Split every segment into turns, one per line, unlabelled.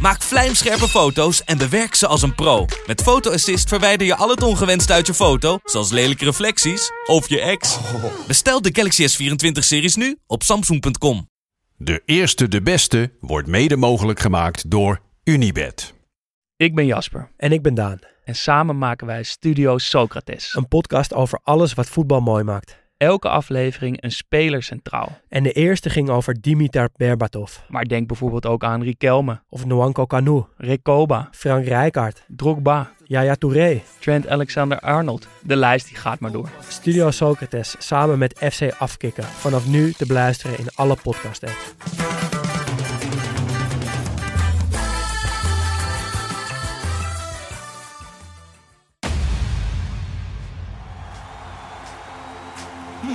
Maak vlijmscherpe foto's en bewerk ze als een pro. Met Photo Assist verwijder je al het ongewenst uit je foto, zoals lelijke reflecties of je ex. Bestel de Galaxy S24-series nu op Samsung.com.
De eerste de beste wordt mede mogelijk gemaakt door Unibed.
Ik ben Jasper
En ik ben Daan.
en samen maken wij Studio Socrates.
Een podcast over alles wat voetbal mooi maakt.
Elke aflevering een speler centraal.
En de eerste ging over Dimitar Berbatov.
Maar denk bijvoorbeeld ook aan Riquelme,
Of Nwanko Kanu.
Recoba,
Frank Rijkaard.
Drogba,
Yaya Touré.
Trent Alexander-Arnold. De lijst die gaat maar door.
Studio Socrates samen met FC Afkikken. Vanaf nu te beluisteren in alle podcast apps.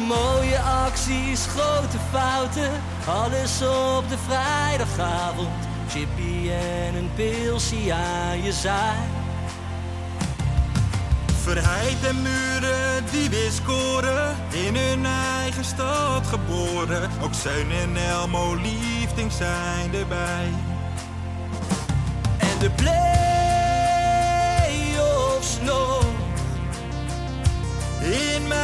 Mooie acties, grote fouten, alles op de vrijdagavond. Chippy en een pilsie aan je zaai.
Verheid en muren die weer scoren, in hun eigen stad geboren. Ook Zijn en Elmo liefding zijn erbij.
En de play-offs nog.
In mij.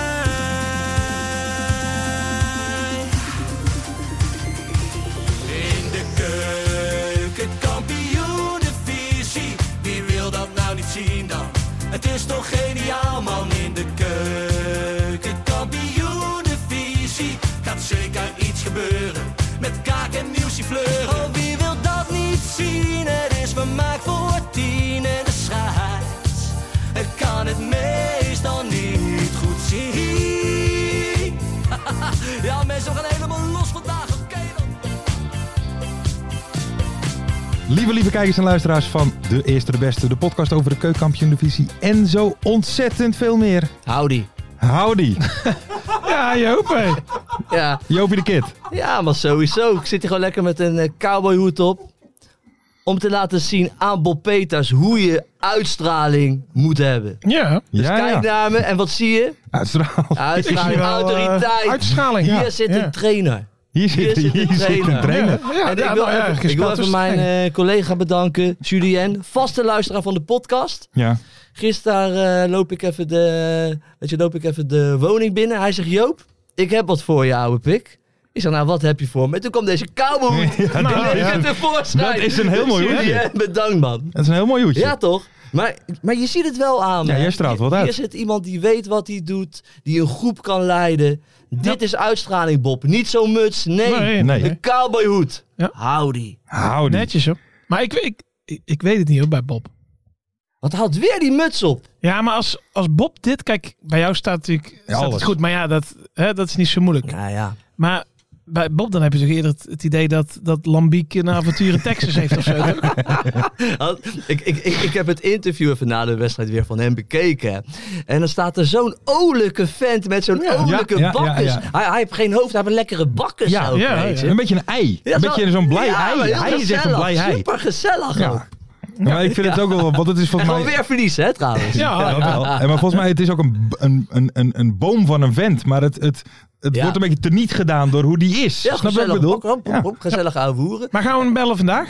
In de keuken, kampioen de visie. Wie wil dat nou niet zien dan? Het is toch geniaal man in de keuken, kampioen de visie. Gaat zeker iets gebeuren met kaak en nieuwsje fleuren. Oh, wie wil dat niet zien? Het is vermaakt voor tien en de scheids. Het kan het meestal niet goed zien. Ja, mensen, we gaan helemaal los vandaag. Oké dan.
Lieve, lieve kijkers en luisteraars van De Eerste de Beste, de podcast over de keukenkampioen divisie en zo ontzettend veel meer.
Howdy.
Howdy. ja, Joop, hé.
Ja,
Joopie de Kid.
ja, maar sowieso. Ik zit hier gewoon lekker met een eh, cowboyhoed op. Om te laten zien aan Bob Peters hoe je uitstraling moet hebben.
Ja,
Dus
Ja,
kijk
ja.
naar me en wat zie je?
Uitstraal.
Uitstraling,
zie wel, eh,
autoriteit.
uitstraling, ja.
Hier zit
Ja.
een trainer.
Hier zit,
zit een
hier zit een
trainer.
trainer.
ja,
en
ja,
ik wil
nou, ja,
even,
geen
ik wil
spel
even
tussen
mijn
geen-
eh, collega bedanken, Julien, vaste luisteraar van de podcast.
Ja.
Gisteren eh, loop, ik even de, weet je, loop ik even de woning binnen. Hij zegt, Joop, ik heb wat voor je, ouwe pik. Ik zeg, nou, wat heb je voor me? En toen kwam deze cowboy
Ja,
Nou,
dat,
ja.
is,
het tevoorschijn.
dat is een heel mooi
Julien,
hoedje.
Bedankt, man.
Dat is een heel mooi hoedje.
Ja, toch? Maar, maar je ziet het wel aan.
Ja,
hè?
jij straalt wat
Hier-
uit.
Hier zit iemand die weet wat hij doet, die een groep kan leiden. Dit is uitstraling, Bob. Niet zo'n muts, nee.
Nee,
Nee.
De cowboyhoed.
Ja.
Howdy.
Howdy.
netjes hoor. Maar ik, ik, ik, ik weet het niet hoor, bij Bob.
Wat houdt weer die muts op?
Ja, maar als, als Bob dit... Kijk, bij jou staat natuurlijk staat het
alles.
goed. Maar ja, dat, hè, dat is niet zo moeilijk.
Nou ja.
Maar bij Bob dan heb je toch eerder het, het idee dat, dat Lambiek een avontuur in Texas heeft of zo. toch?
Had- Ik, ik, ik, ik heb het interview even na de wedstrijd weer van hem bekeken. En dan staat er zo'n olijke vent met zo'n olijke
ja, ja,
bakkes.
ja.
Hij, hij heeft geen hoofd, hij heeft een lekkere bakkes
Ja,
ook,
ja,
weet je.
ja.
Een beetje een ei.
Ja,
een beetje zo'n blij
ja, maar
ei.
heel
Hij is echt een
gezellig.
blij ei.
Super gezellig
Ja.
ook.
Ja, maar ik vind het ook wel, want het is
En
volgens
gewoon
mij...
weer verliezen, hè, trouwens.
Ja,
Ja, dat wel. En maar volgens mij het is ook een, een, een, een, een boom van een vent. Maar het, het, het
Ja.
wordt een beetje teniet gedaan door hoe die is.
Ja,
Snap je wat
gezellig.
ik bedoel?
Hop, hop, hop,
Ja.
hop, Gezellig ouwe hoeren.
Maar gaan we hem bellen vandaag?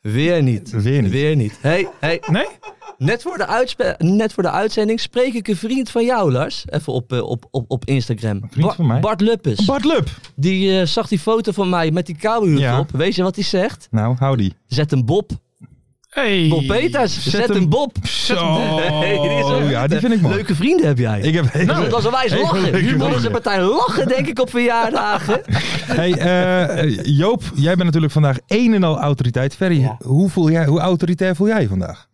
Weer niet.
Weer niet.
Weer niet. Hey, hey.
Nee?
Net, voor de uitspe- net voor de uitzending spreek ik een vriend van jou, Lars. Even op, eh, op, op, op Instagram.
vriend van mij?
Bart Luppes.
Bart Lup.
Die eh, zag die foto van mij met die cowboyhoed
Ja.
op. Weet je wat hij zegt?
Nou, hou die.
Zet een bob.
Hey.
Bob Peters, zet,
hem-
een bob.
Zo. Oh,
Hey, dit is echt,
ja, die
eh,
vind ik mooi.
Leuke vrienden heb jij.
Ik heb
nou, dat was een wijs
Hele
lachen.
leuke
Nu mogen ze
vrienden.
partij lachen, denk ik, op verjaardagen.
Hey, eh, Joop, jij bent natuurlijk vandaag een en al autoriteit. Ferry, hoe, voel jij, hoe autoritair voel jij je vandaag?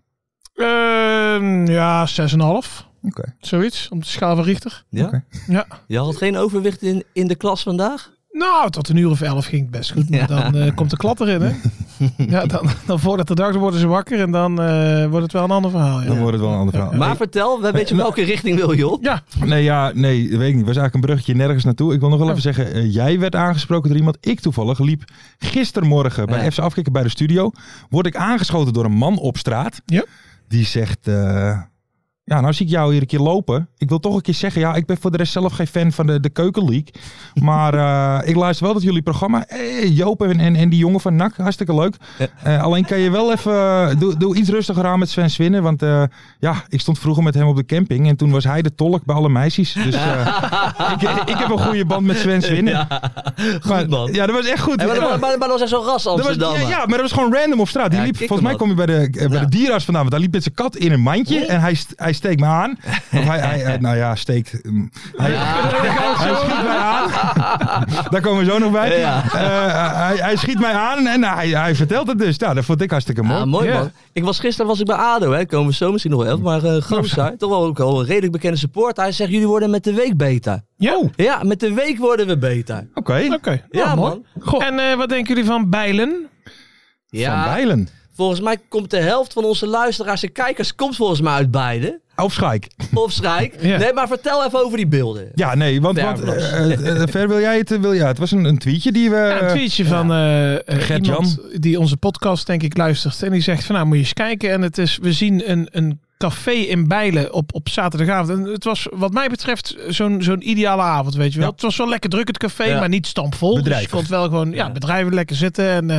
Ehm, ja, 6,5.
Oké.
Zoiets, op de schaal van Richter.
Ja?
Oké.
Ja.
Je had geen overwicht in, in de klas vandaag?
Nou, tot een uur of elf ging het best goed. Maar dan eh, komt de klatter in, hè? ja, dan, dan voordat de dag worden ze wakker en dan eh, wordt het wel een ander verhaal.
Dan
Ja.
wordt het wel een ander verhaal.
Maar vertel, we- weet je welke richting wil je op?
Ja,
Nee, ja, nee, weet ik niet. was eigenlijk een bruggetje nergens naartoe. Ik wil nog wel even zeggen, eh, jij werd aangesproken door iemand. Ik toevallig liep gistermorgen bij
Ja.
FC Afkikken bij de studio. Word ik aangeschoten door een man op straat.
Ja.
Die zegt, eh, ja, nou zie ik jou hier een keer lopen. Ik wil toch een keer zeggen, ja, ik ben voor de rest zelf geen fan van de, de Keukenleague. Maar eh, ik luister wel dat jullie programma. Eh, Joop en, en, en die jongen van NAC, hartstikke leuk. Eh, alleen kan je wel even, eh, doe, doe iets rustiger aan met Sven Swinnen. Want eh, ja, ik stond vroeger met hem op de camping en toen was hij de tolk bij alle meisjes. Dus eh, ik, ik heb een goede band met Sven Swinnen. Maar-
man.
Ja, dat was echt goed.
En maar, maar, maar, maar dat was echt zo'n ras
Dat was-
Amsterdam.
ja, ja, maar dat was gewoon random op straat. Die
Ja,
liep,
kick
volgens
hem
mij
op.
kwam hij bij de, eh, bij
Ja.
de dierenarts vandaan. Want hij liep met zijn kat in een mandje. En hij, st- hij steekt me aan. Of hij, hij, eh, nou ja, steekt... mm, hij, hij schiet mij aan. Daar komen we zo nog bij.
Ja.
Eh, hij, hij schiet mij aan en hij, hij vertelt het dus. Nou, dat vond ik hartstikke mooi.
Ja, Ah, mooi
Ja.
man. Ik was gisteren was ik bij ADO, hè. komen we zo misschien nog wel even. Maar eh Goosar, toch wel ook al een redelijk bekende support. Hij zegt, jullie worden met de week beter.
ja.
Oh.
oké.
Ja, met de week worden we beter.
Oké,
Ja,
Nou, mooi.
man.
Goh. En eh, wat denken jullie van Bijlen?
Van
Ja,
Bijlen.
volgens mij komt de helft van onze luisteraars en kijkers komt volgens mij uit beide.
Of Schaik.
Of Strijk.
Ja.
Nee, maar vertel even over die beelden.
Ja, nee, want,
Ja,
want
Blas.
eh, eh, eh, Ver, wil jij het? eh, Wil, ja, het was een, een tweetje die we...
Ja, een tweetje van eh, eh,
Gert-Jan.
iemand die onze podcast denk ik luistert. En die zegt van nou moet je eens kijken. En het is, we zien een, een café in Bijlen op, op zaterdagavond. En het was wat mij betreft zo'n zo'n ideale avond, weet je wel.
Ja.
Het was wel lekker druk het café,
Ja.
maar niet stampvol. Dus
Bedrijvig.
je kon het wel gewoon, ja, bedrijven lekker zitten. En, eh,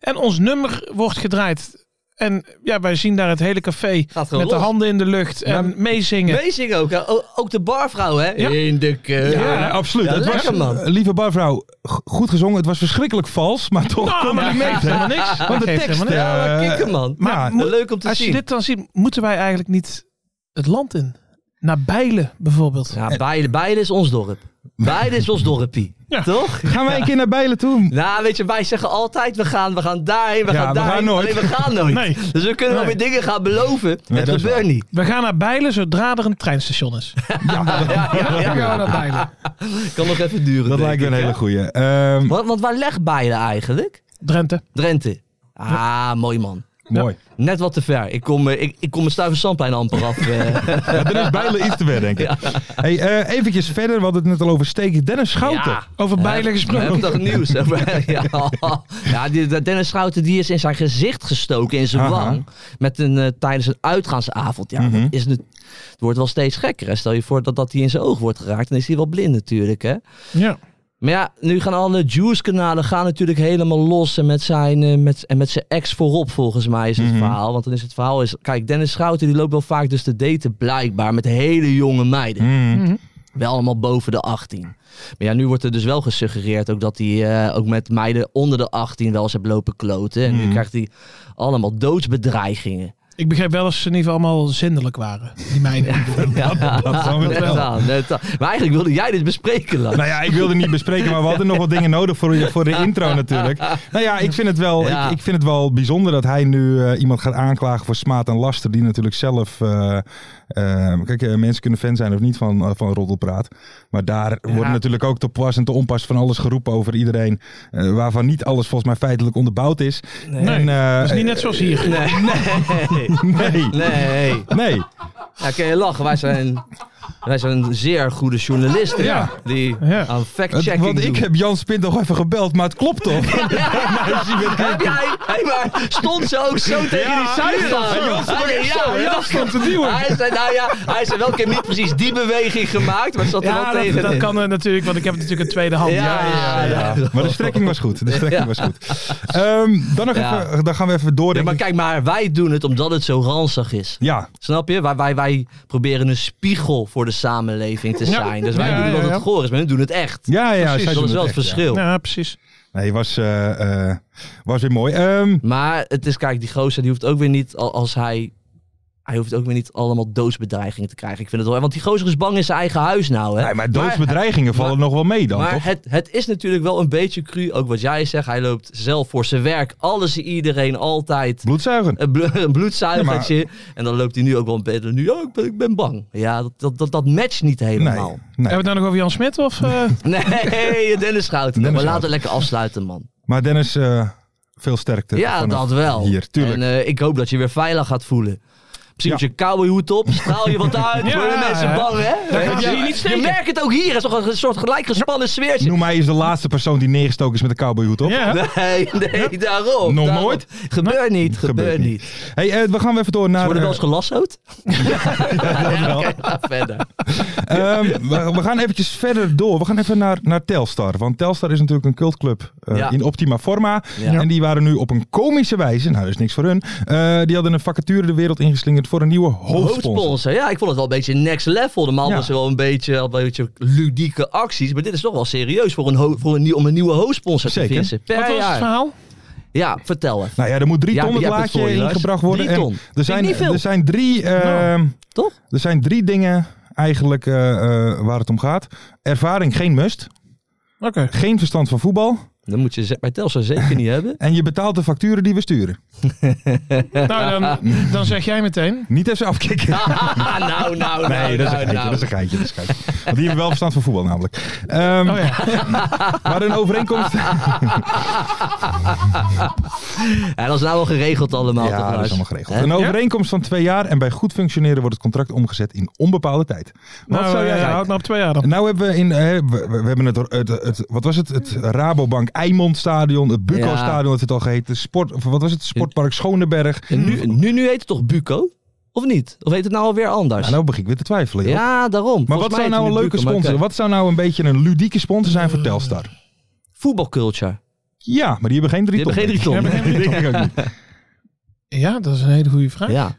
en ons nummer wordt gedraaid. En ja, wij zien daar het hele café
Gaat gewoon
met de
los.
handen in de lucht en meezingen.
Amazing ook. hè. O- Ook de barvrouw, hè?
Ja.
In de keuken.
Eh, Ja,
Ja,
absoluut.
ja,
het was,
lekker, man.
eh, Lieve barvrouw, g- goed gezongen. Het was verschrikkelijk vals, maar toch
Nou,
kon
maar
ik
dat
mee.
geeft helemaal niks. Dat
Want de
geeft
tekst...
helemaal
Ja,
niks.
maar
eh,
kicken, man.
maar
Maar
ja,
Mo- Leuk om te
Als
zien.
je dit dan ziet, moeten wij eigenlijk niet het land in? Naar Bijlen bijvoorbeeld.
Ja, beide, beide is ons dorp. Beide is ons dorpie.
Ja.
Toch?
Gaan wij een keer naar Bijlen toe?
Nou, weet je, wij zeggen altijd, we gaan, we gaan daarheen, we
Ja,
gaan
we gaan
daarheen.
nooit.
Alleen, we gaan nooit.
Nee.
Dus we kunnen wel
Nee.
weer dingen gaan beloven. het
dat is
gebeurt niet.
We gaan naar Bijlen zodra er een treinstation is.
Ja, ja,
Dan
ja.
gaan we naar Bijlen.
Kan nog even duren.
Dat
denk
lijkt me
ik,
een
hè?
hele goeie. Ehm,
Want, want waar legt beide eigenlijk?
Drenthe.
Drenthe. Ah, mooi man.
Mooi.
Net wat te ver. Ik kom, eh, ik, ik kom mijn Stuyvesantplein amper af. eh.
Ja, dan is Bijlen iets te ver, denk ik. Hey, eh, eventjes verder, we hadden het net al over steken. Dennis Schouten.
Ja.
Over Bijlen gesproken.
Heftig nieuws. over- ja, ja die, Dennis Schouten die is in zijn gezicht gestoken, in zijn
Aha.
wang. Met een, eh, tijdens een uitgaansavond. Ja,
Mhm.
dat is, nu- het wordt wel steeds gekker. hè. Stel je voor dat, dat hij in zijn oog wordt geraakt. Dan is hij wel blind natuurlijk. Hè?
Ja.
Maar ja, nu gaan alle Juice-kanalen gaan natuurlijk helemaal los. En met zijn, eh, met, en met zijn ex voorop, volgens mij, is het
Mhm.
verhaal. Want dan is het verhaal... Is, kijk, Dennis Schouten die loopt wel vaak dus te daten, blijkbaar. Met hele jonge meiden.
Hmm.
Wel allemaal boven de 18. Maar ja, nu wordt er dus wel gesuggereerd ook dat hij eh, ook met meiden onder de 18 wel eens heeft lopen kloten. En nu
Mhm.
krijgt hij allemaal doodsbedreigingen.
Ik begreep wel eens ze in ieder geval allemaal zindelijk waren. Die meiden.
Ja,
zou het
net
wel.
aan, net aan. Maar eigenlijk wilde jij dit bespreken, Lars.
Nou ja, ik wilde niet bespreken, maar we hadden nog wat dingen nodig voor, voor de intro natuurlijk. Nou ja, ik vind het wel,
Ja.
ik, ik vind het wel bijzonder dat hij nu eh, iemand gaat aanklagen voor smaad en laster. Die natuurlijk zelf, eh, eh, kijk, eh, mensen kunnen fan zijn of niet van, eh, van roddelpraat. Maar daar wordt natuurlijk ook te pas en te onpas van alles geroepen over iedereen. eh, waarvan niet alles volgens mij feitelijk onderbouwd is.
Nee.
En, eh,
Dat is niet net zoals hier.
Nee, nee,
Nee,
nee.
nee.
Ja, kun je lachen. Wij zijn, wij zijn zeer goede journalisten
Ja.
die
Ja.
aan
Het-
fact-checking
want
doen.
ik heb Jan Spint nog even gebeld, maar het klopt toch?
Heb jij, hey, maar stond ze ook zo tegen die zuiger? Hij- Ja, ja,
Stond te duwen.
Hij zei, nou ja, hij zei wel, ik heb niet precies die beweging gemaakt, maar het zat er wel
Ja, dat,
tegen.
dat kan eh, natuurlijk, want ik heb natuurlijk een tweede hand.
Ja, ja, ja.
Maar de strekking was goed. De strekking
Ja.
was goed. Ehm, dan, nog
Ja.
even, dan gaan we even door.
Ja,
denk
maar
ik.
kijk maar, wij doen het omdat het zo ranzig is.
Ja,
Snap je? Wij, wij, wij proberen een spiegel voor de samenleving te zijn. Dus wij
Ja,
doen
ja,
dat
ja.
het goor is, maar hun doen het echt.
ja, ja. zij
dat
doen
is wel het
echt, ja.
verschil.
Ja, precies.
Nee, was, eh, eh, was weer mooi. Ehm,
Maar het is, kijk, die gozer die hoeft ook weer niet, al- als hij hij hoeft ook weer niet allemaal doodsbedreigingen te krijgen. Ik vind het wel. Want die gozer is bang in zijn eigen huis nou. Hè?
Nee, maar doodsbedreigingen vallen nog wel mee dan,
maar
toch?
het, het is natuurlijk wel een beetje cru. Ook wat jij zegt. Hij loopt zelf voor zijn werk. Alles, en iedereen, altijd.
Bloedzuigen.
Een, blo- een bloedzuigertje.
Ja,
En dan loopt hij nu ook wel een beetje. Nu, oh, ik ben, ik ben bang. Ja, dat, dat, dat, dat matcht niet
Nee,
helemaal.
nee.
Hebben we het nou nog over Jan Smit? Of, eh,
Nee, Dennis Schouten. maar laten
Dennis
we
Schouten.
lekker afsluiten, man.
Maar Dennis, eh, veel sterkte.
Ja,
vanaf
dat wel.
Hier, tuurlijk.
En eh, ik hoop dat je weer veilig gaat voelen. Misschien
Ja.
je koude hoed op, straal je wat uit,
Ja,
worden mensen
hè?
bang, hè?
gaan ze
je,
je niet steken.
merkt het ook hier, het is toch een soort gelijk gespannen sfeertje.
Noem mij eens de laatste persoon die neergestoken is met een cowboyhoed op.
ja.
Nee, nee, daarom.
Nog
daarom.
nooit?
Gebeurt niet, gebeurt,
Gebeurt
niet.
niet. Hey, eh, we gaan weer even door
Ze
naar...
worden wel
eh,
eens gelassood. Ja, oké, ga verder.
Ehm, we, we gaan eventjes verder door. We gaan even naar, naar Telstar. Want Telstar is natuurlijk een cultclub eh,
Ja.
in optima forma.
Ja.
En die waren nu op een komische wijze, nou dat is niks voor hun, eh, die hadden een vacature de wereld ingeslingerd voor een nieuwe hoofdsponsor.
Hoofdsponsor. Ja, ik vond het wel een beetje next level. Normaal
Ja.
was het wel een beetje, een beetje ludieke acties. Maar dit is toch wel serieus voor een, ho- voor een, nieuw- om een nieuwe hoofdsponsor te
Zeker.
vissen. Per
wat was het
jaar.
verhaal?
Ja, vertel even.
Nou ja, er moet drie
Ja,
ton
maar
het
jij hebt het
laadje
voor je, Lars.
ingebracht worden.
Drie ton.
En er
Vind ik
zijn,
niet veel. Nou,
er zijn drie... ehm,
Toch?
Er zijn drie dingen eigenlijk eh, eh, waar het om gaat. Ervaring geen must.
Oké.
Geen verstand van voetbal.
Dan moet je ze- bij Telstra zeker niet hebben.
En je betaalt de facturen die we sturen.
Nou, dan, dan zeg jij meteen.
Niet even afkicken.
Ah, nou, nou, nou.
Nee, dat
nou,
is een geintje.
nou.
Dat is een geintje. Dat is een geintje. Want die hebben wel verstand van voetbal namelijk. Ehm
Oh ja.
Maar een overeenkomst.
Ja, dat is nou wel geregeld allemaal. toch,
ja, dat
Lars?
is allemaal geregeld.
Hè?
Een overeenkomst van twee jaar. En bij goed functioneren wordt het contract omgezet in onbepaalde tijd. Wat
Nou,
zou
eh,
jij
ja, houd nou op twee jaar dan.
Nou hebben we in, eh, we, we hebben het, het, het, wat was het? Het Rabobank Eimond Stadion, het Buco
Ja.
Stadion had het al geheten. Het Sport, of wat was het? Sportpark Schoneberg.
En nu,
Hm.
nu, nu heet het toch Buco? Of niet? Of heet het nou alweer anders?
Ja,
Ja,
nou begin ik weer te twijfelen. joh.
daarom.
maar
Volgens mij
wat zou
heet
nou
het
een
nu
leuke
Buco, maar
sponsor?
kijk.
Wat zou nou een beetje een ludieke sponsor zijn voor Telstar?
Voetbalculture.
Ja, maar die hebben geen drie
Eh. Die hebben geen drie
ton.
ton.
Die hebben geen drie ton.
Ja, dat is een hele goede vraag.
Ja.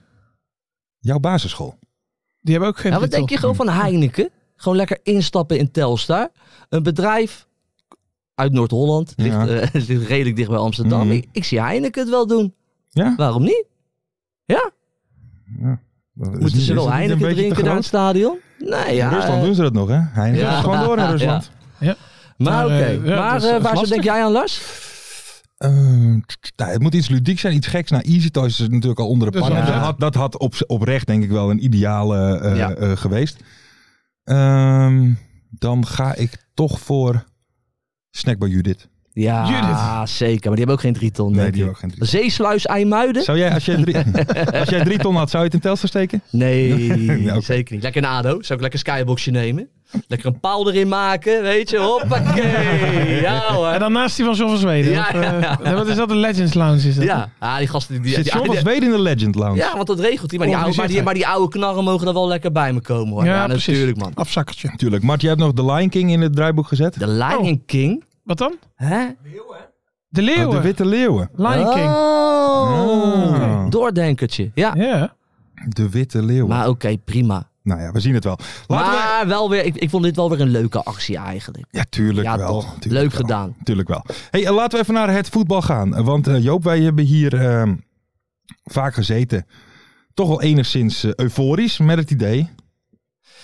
Jouw basisschool.
Die hebben ook geen
ja, Nou, wat
titel.
denk je gewoon van Heineken? Gewoon lekker instappen in Telstar. Een bedrijf uit Noord-Holland. Ligt,
Ja.
eh, het ligt redelijk dicht bij Amsterdam.
Mhm.
Ik, ik zie Heineken het wel doen.
Ja?
Waarom niet?
Dus
Moeten ze wel Heineken drinken daar in het stadion? Nee, ja.
in Rusland
eh,
doen ze dat nog, hè? Heineken
Ja.
gaat gewoon door in
Ja.
Rusland.
Maar
Nou,
Maar,
oké.
eh, ja,
maar
dat is-
eh,
dat is
waar zo
lastig.
denk jij aan, Lars?
Eh, tch, tch, nou, het moet iets ludiek zijn, iets geks. Nou, Easy Toys is natuurlijk al onder de
Dat is
pannen.
wel
Dat,
vet.
had, dat had op, oprecht, denk ik wel, een ideale eh,
Ja.
eh, geweest. Ehm, dan ga ik toch voor Snackbar Judith.
Ja,
Judith.
zeker. Maar die hebben ook geen drieton.
Nee,
denk
die
ik.
hebben ook geen drie ton.
Zeesluis IJmuiden?
Zou jij, als jij, drie, als jij drie ton had, zou je het in Telstar steken?
Nee,
Ja, oké.
zeker niet. Lekker een ADO. Zou ik lekker een skyboxje nemen. Lekker een paal erin maken, weet je. Hoppakee. Ja
En
hoor.
dan naast die van John van Zweden.
Ja,
Of, eh, Wat is dat? De Legends Lounge is dat?
Ja, ah, die gasten die... die,
Zit
die-
John van
die-
Zweden in de Legend Lounge?
ja, want dat regelt hij. Maar die,
Oh,
oude,
die
maar, die,
zit
maar die oude knarren mogen er wel lekker bij me komen hoor. Oh, Ja,
precies.
natuurlijk man.
Afzakkertje.
Tuurlijk. Mart, jij hebt nog The Lion King in het draaiboek gezet?
De Lion King.
Wat dan?
Hè?
De
Oh,
Leeuwen.
de Witte Leeuwen.
Lion
Ah.
King.
Oh.
Ah.
Doordenkertje. Ja.
Ja.
De Witte Leeuwen.
Maar oké, prima.
nou ja, we zien het wel. Laten we...
maar wel weer, ik, ik vond dit wel weer een leuke actie eigenlijk.
Ja, tuurlijk
Ja,
wel.
toch.
Tuurlijk
Leuk
wel.
gedaan.
Tuurlijk wel. Hey, eh, laten we even naar het voetbal gaan. Want eh, Joop, wij hebben hier ehm, vaak gezeten. Toch wel enigszins eh, euforisch met het idee.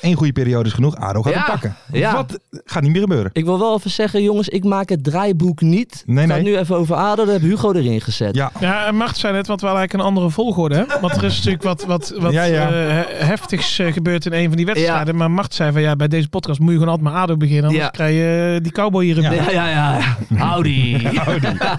Eén goede periode is genoeg. Ado gaat
Ja,
hem pakken.
ja.
Wat gaat niet meer gebeuren?
Ik wil wel even zeggen, jongens, ik maak het draaiboek niet.
Nee,
het gaat
nee.
nu even over ADO, daar heb Hugo erin gezet.
Ja,
Ja, en Mart zei net, want we hadden eigenlijk een andere volgorde. Hè? Want er is natuurlijk wat, wat, wat
Ja, ja.
eh, he- heftigs eh, gebeurd in een van die wedstrijden. Maar Mart zei van ja, bij deze podcast moet je gewoon altijd maar ADO beginnen. Anders
Ja.
krijg je eh, die cowboy hier in
Ja,
beeld.
ja, ja. Howdy.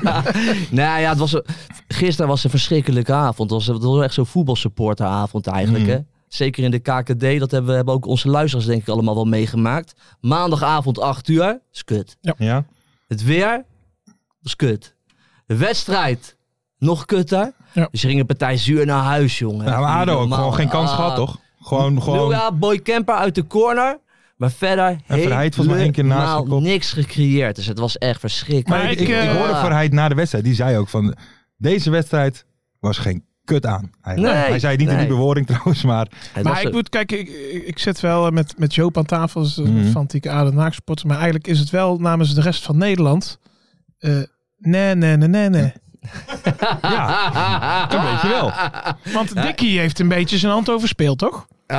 nou ja, het was, een- gisteren was een verschrikkelijke avond. Het was, het was echt zo'n voetbalsupporteravond eigenlijk.
Mm.
Hè? Zeker in de KKD. Dat hebben, we- hebben ook onze luisteraars denk ik allemaal wel meegemaakt. Maandagavond 8 uur. is kut.
ja.
Het weer was kut. De wedstrijd nog kutter.
Ja.
Dus je ging een partij zuur naar huis, jongen.
Nou, maar Ado ook
Normaal.
gewoon geen kans
Ah.
gehad, toch? Gewoon, gewoon...
Ja, Boy Kemper uit de corner. Maar verder
Verheid volgens mij één keer naast de
helemaal
kop.
niks gecreëerd. Dus het was echt verschrikkelijk.
Maar
Maar
ik,
ik,
ik, ik
eh,
hoorde voor hij na de wedstrijd. Die zei ook van, deze wedstrijd was geen kut aan. eigenlijk.
Nee,
hij zei het niet in
nee.
die bewoording trouwens, maar...
Het was
Maar ik
een-
moet, kijk, ik, ik ik zit wel eh, met, met Joop aan tafel, dus eh,
Mhm.
een fanatieke Aden Naaksporter. Maar eigenlijk is het wel namens de rest van Nederland. eh, nee, nee, nee, nee, nee.
Ja, dat weet je wel.
Want Dickie heeft een beetje zijn hand overspeeld, toch?
Ah,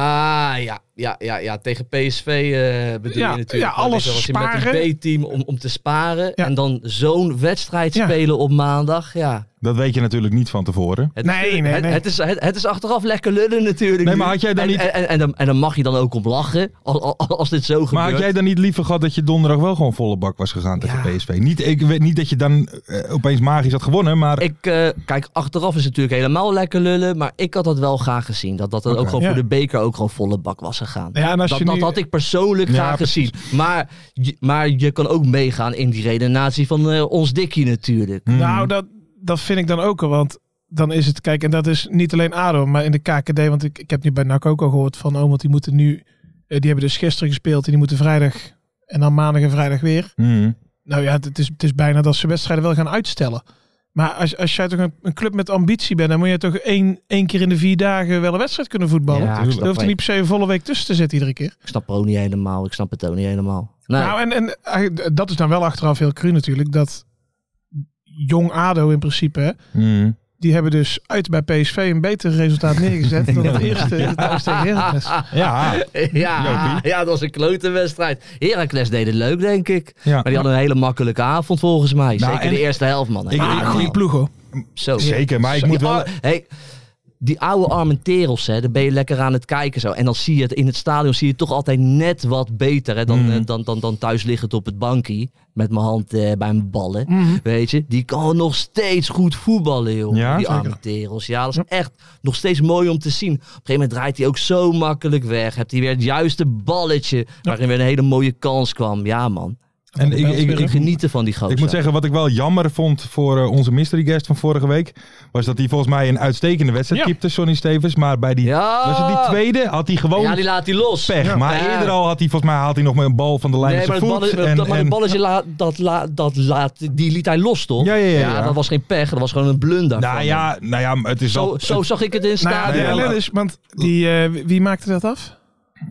ja. Ja, ja, ja. tegen PSV eh bedoel
Ja,
je natuurlijk.
ja, alles
Weet je wel, als je Met
sparen.
een B-team om, om te sparen.
Ja.
En dan zo'n wedstrijd
Ja.
spelen op maandag. Ja.
Dat weet je natuurlijk niet van tevoren.
Het,
Nee,
natuurlijk-
nee,
het,
nee.
Het, is, het, het is achteraf lekker lullen natuurlijk.
Nee,
nu.
maar had jij dan
en,
niet-
En, en, en dan, en dan mag je dan ook om lachen. Als, als dit zo gebeurt.
Maar had jij dan niet liever gehad dat je donderdag wel gewoon volle bak was gegaan tegen
Ja.
PSV? Niet, ik weet niet dat je dan eh, opeens magisch had gewonnen, maar
Ik, eh, kijk, achteraf is het natuurlijk helemaal lekker lullen. Maar ik had dat wel graag gezien. Dat dat er ook
Oké.
gewoon
Ja.
voor de beker ook gewoon volle bak was gegaan.
Ja, en als
dat,
je
dat
nu-
had ik persoonlijk
Ja,
graag
precies.
gezien. Maar, je- maar je kan ook meegaan in die redenatie van eh, ons Dikkie natuurlijk.
Hmm.
Nou, dat, dat vind ik dan ook wel. Want dan is het, kijk, en dat is niet alleen ADO, maar in de KKD. Want ik, ik heb nu bij NAC ook al gehoord van, oh, want die moeten nu, eh, die hebben dus gisteren gespeeld en die moeten vrijdag en dan maandag en vrijdag weer.
Hmm.
Nou ja, het is, het is bijna dat ze wedstrijden wel gaan uitstellen. Maar als, als jij toch een, een club met ambitie bent, dan moet je toch één, één keer in de vier dagen wel een wedstrijd kunnen voetballen.
Ja,
Er
tuurlijk.
hoeft er niet per se een volle week tussen te zitten iedere keer.
Ik snap ook niet helemaal. Ik snap het ook niet helemaal. Nee.
Nou, en, en eh, dat is dan wel achteraf heel cru natuurlijk, dat jong ADO in principe, hè,
Hmm.
Die hebben dus uit bij PSV een beter resultaat neergezet dan het eerste ja. thuis tegen Heracles.
Ja,
ja, ja, dat was een klote wedstrijd. Heracles deed het leuk, denk ik.
ja.
Maar die hadden een hele makkelijke avond volgens mij.
Nou,
Zeker
en-
de eerste helft, man.
Ik-
Ah,
Ja,
goede ploeg hoor.
zo.
zeker. Maar ik
Zo,
moet
die
wel...
oude- hey, die oude Armenteros, hè, daar ben je lekker aan het kijken zo. En dan zie je het in het stadion, zie je het toch altijd net wat beter hè, dan,
Mhm.
eh, dan, dan, dan thuis liggend op het bankje. Met mijn hand eh, bij mijn ballen. Weet je, die kan nog steeds goed voetballen, joh.
Mm. Ja,
die
zeker.
Armenteros. Ja, dat is echt nog steeds mooi om te zien. Op een gegeven moment draait hij ook zo makkelijk weg. Hebt hij weer het juiste balletje waarin weer een hele mooie kans kwam. Ja, man.
En ik, ik, ik,
Ik geniet ervan, die gozer.
Ik moet zeggen, wat ik wel jammer vond voor eh, onze mystery guest van vorige week, was dat hij volgens mij een uitstekende wedstrijd
Ja.
keepte, Sonny Stevens. Maar bij die,
Ja!
was het die tweede had hij gewoon
ja, die laat hij los.
pech. Maar
Ja.
eerder al had hij volgens mij haalt hij nog met een bal van de lijn
Nee,
op
maar,
zijn
het
voet.
balletje,
en,
dat, maar
en-
het balletje la- dat, la- dat laat, die liet hij los, toch?
Ja, ja, ja, ja.
dat was geen pech, dat was gewoon een blunder.
nou
van hem.
ja, nou ja, het is
Zo,
wel...
zo zag ik het in het
Nou ja, de
stadion.
ellende is, want die, eh, wie maakte dat af?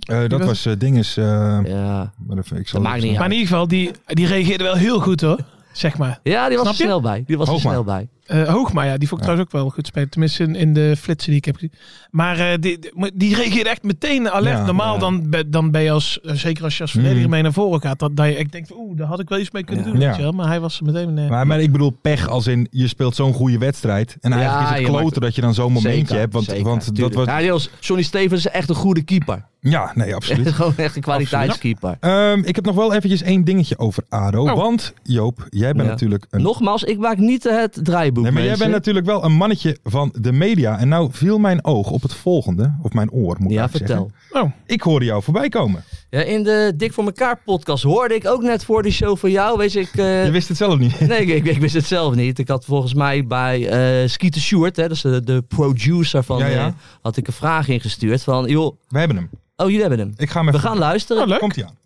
eh, dat
was-
was eh, dinges... eh,
ja.
maar even, ik zal
dat maakt niet
Maar
uit.
in ieder geval, die, die reageerde wel heel goed hoor. Zeg maar.
Ja, die was er
Snap je?
snel bij. Die was er
Hoogma.
snel bij.
Eh Hoogma, ja, die vond ik trouwens ook wel goed spelen. Tenminste in, in de flitsen die ik heb gezien. Maar eh, die, die- die reageerde echt meteen alert.
Ja,
Normaal
ja.
Dan, ben- dan ben je als, eh, zeker als je als verdediger
Mhm.
mee naar voren gaat, dat, dat je echt denkt, van, oeh, daar had ik wel iets mee kunnen
Ja.
doen. weet
Ja.
je wel. Maar hij was er meteen... eh,
Maar, maar ik bedoel pech als in je speelt zo'n goede wedstrijd. En eigenlijk
Ja,
is
je
het kloten
maakt-
dat je dan zo'n momentje
Zeker,
hebt. Want,
zeker,
want dat
tuurlijk.
was...
Ja, die was- Johnny Stevens is echt een goede keeper.
Ja, nee, absoluut.
gewoon echt een kwaliteitskeeper.
Ehm, ik heb nog wel eventjes één dingetje over ADO.
Oh.
Want Joop, jij bent
Ja.
natuurlijk een
Nogmaals, ik maak niet het draaiboek,
Nee, maar jij
mensen.
bent natuurlijk wel een mannetje van de media. En nou viel mijn oog op het volgende, of mijn oor moet ik
Ja,
eigenlijk
vertel. Oh.
zeggen. Ik hoorde jou voorbij komen.
Ja, in de Dik voor elkaar podcast hoorde ik ook net voor de show van jou. Weet je, ik, eh,
Je wist het zelf niet.
Nee, ik, ik, ik wist het zelf niet. Ik had volgens mij bij eh Skeeter Stewart, hè, dat is de, de producer van,
Ja, ja.
eh, had ik een vraag ingestuurd van, joh,
We hebben hem.
oh jullie hebben hem.
Ik ga hem
We
even...
gaan luisteren.
Oh, leuk.
Komt hij aan.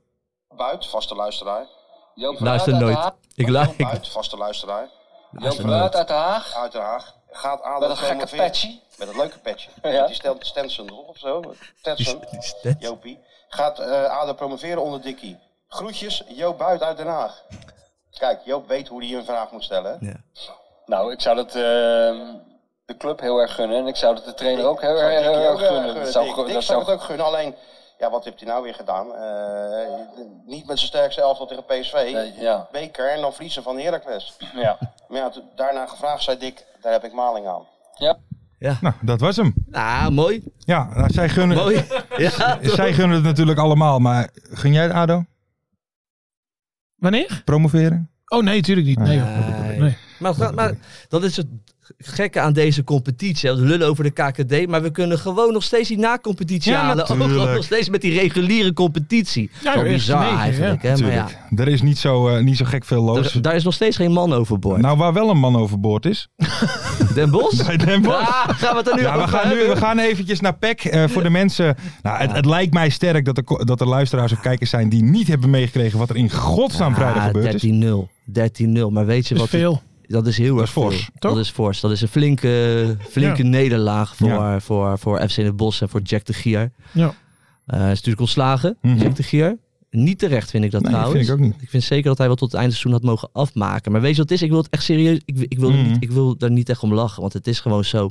Buit, vaste luisteraar. Joop van
Luister
Aert uit
nooit.
Den Haag.
Ik lu- ik-
Buit, vaste luisteraar. Joop
Luister
van Aert
nooit.
uit Den Haag. Uit Den Haag. Gaat aan Met een gekke patchie. Met een leuke patchie. Met die stelt Stenson erop of zo. Stenson. Jopie. Gaat eh ADO promoveren onder Dikkie. Groetjes, Joop Buit uit Den Haag. Kijk, Joop weet hoe hij een vraag moet stellen.
Ja.
Nou, ik zou dat ehm, de club heel erg gunnen. En ik zou dat de trainer ook eh, heel
erg- heel erg gunnen. Dat zou
Dick,
gu-
Dick
dat
zou
zou-
het ook gunnen, alleen... Ja, wat heeft hij nou weer gedaan? Eh, niet met zijn sterkste elftal tegen PSV.
Nee, ja.
Beker en dan verliezen van Heracles.
Ja.
Maar ja, toen- daarna gevraagd, zei Dick, daar heb ik maling aan.
Nou, dat was hem.
Nou, mooi.
Ja, nou, zij, gunnen,
Mooi. ja,
zij gunnen het natuurlijk allemaal. Maar gun jij het ADO?
Wanneer?
Promoveren?
Oh nee, natuurlijk niet. Nee, joh.
Nee.
Nee.
Maar, ga- maar dat is het gekke aan deze competitie. hè. We lullen over de KKD, maar we kunnen gewoon nog steeds die na-competitie
Ja,
halen. Ook
natuurlijk.
nog steeds met die reguliere competitie.
Ja,
Zo
joh, eerste
bizar
negen,
eigenlijk, hè. Maar ja,
Natuurlijk. Er is niet zo, eh, niet zo gek veel los.
daar, daar is nog steeds geen man overboord.
nou, waar wel een man overboord is.
Den Bosch?
Bij Nou. Den Bosch.
Ah, gaan we het er nu
Ja, we
over
gaan nu
hebben?
we gaan eventjes naar PEC. eh, voor de mensen. Nou, het, het lijkt mij sterk dat er, ko- dat er luisteraars of kijkers zijn die niet hebben meegekregen wat er in godsnaam vrijdag
Ah,
gebeurd is.
13-0. 13-0. Maar weet je
Dat is
wat? het-
veel.
dat is heel erg
is fors,
veel.
toch?
Dat is fors. Dat is een flinke, flinke nederlaag voor,
Ja.
voor, voor FC Den Bosch en voor Jack de Gier.
Ja.
Eh, is natuurlijk ontslagen,
Mhm.
Jack de Gier. Niet terecht vind ik dat
Nee, dat
trouwens.
vind ik ook niet.
Ik vind zeker dat hij wel tot het einde seizoen had mogen afmaken. Maar weet je wat het is? Ik wil het echt serieus. Ik, ik, wil, er
Mhm.
niet, ik wil daar niet echt om lachen. Want het is gewoon zo.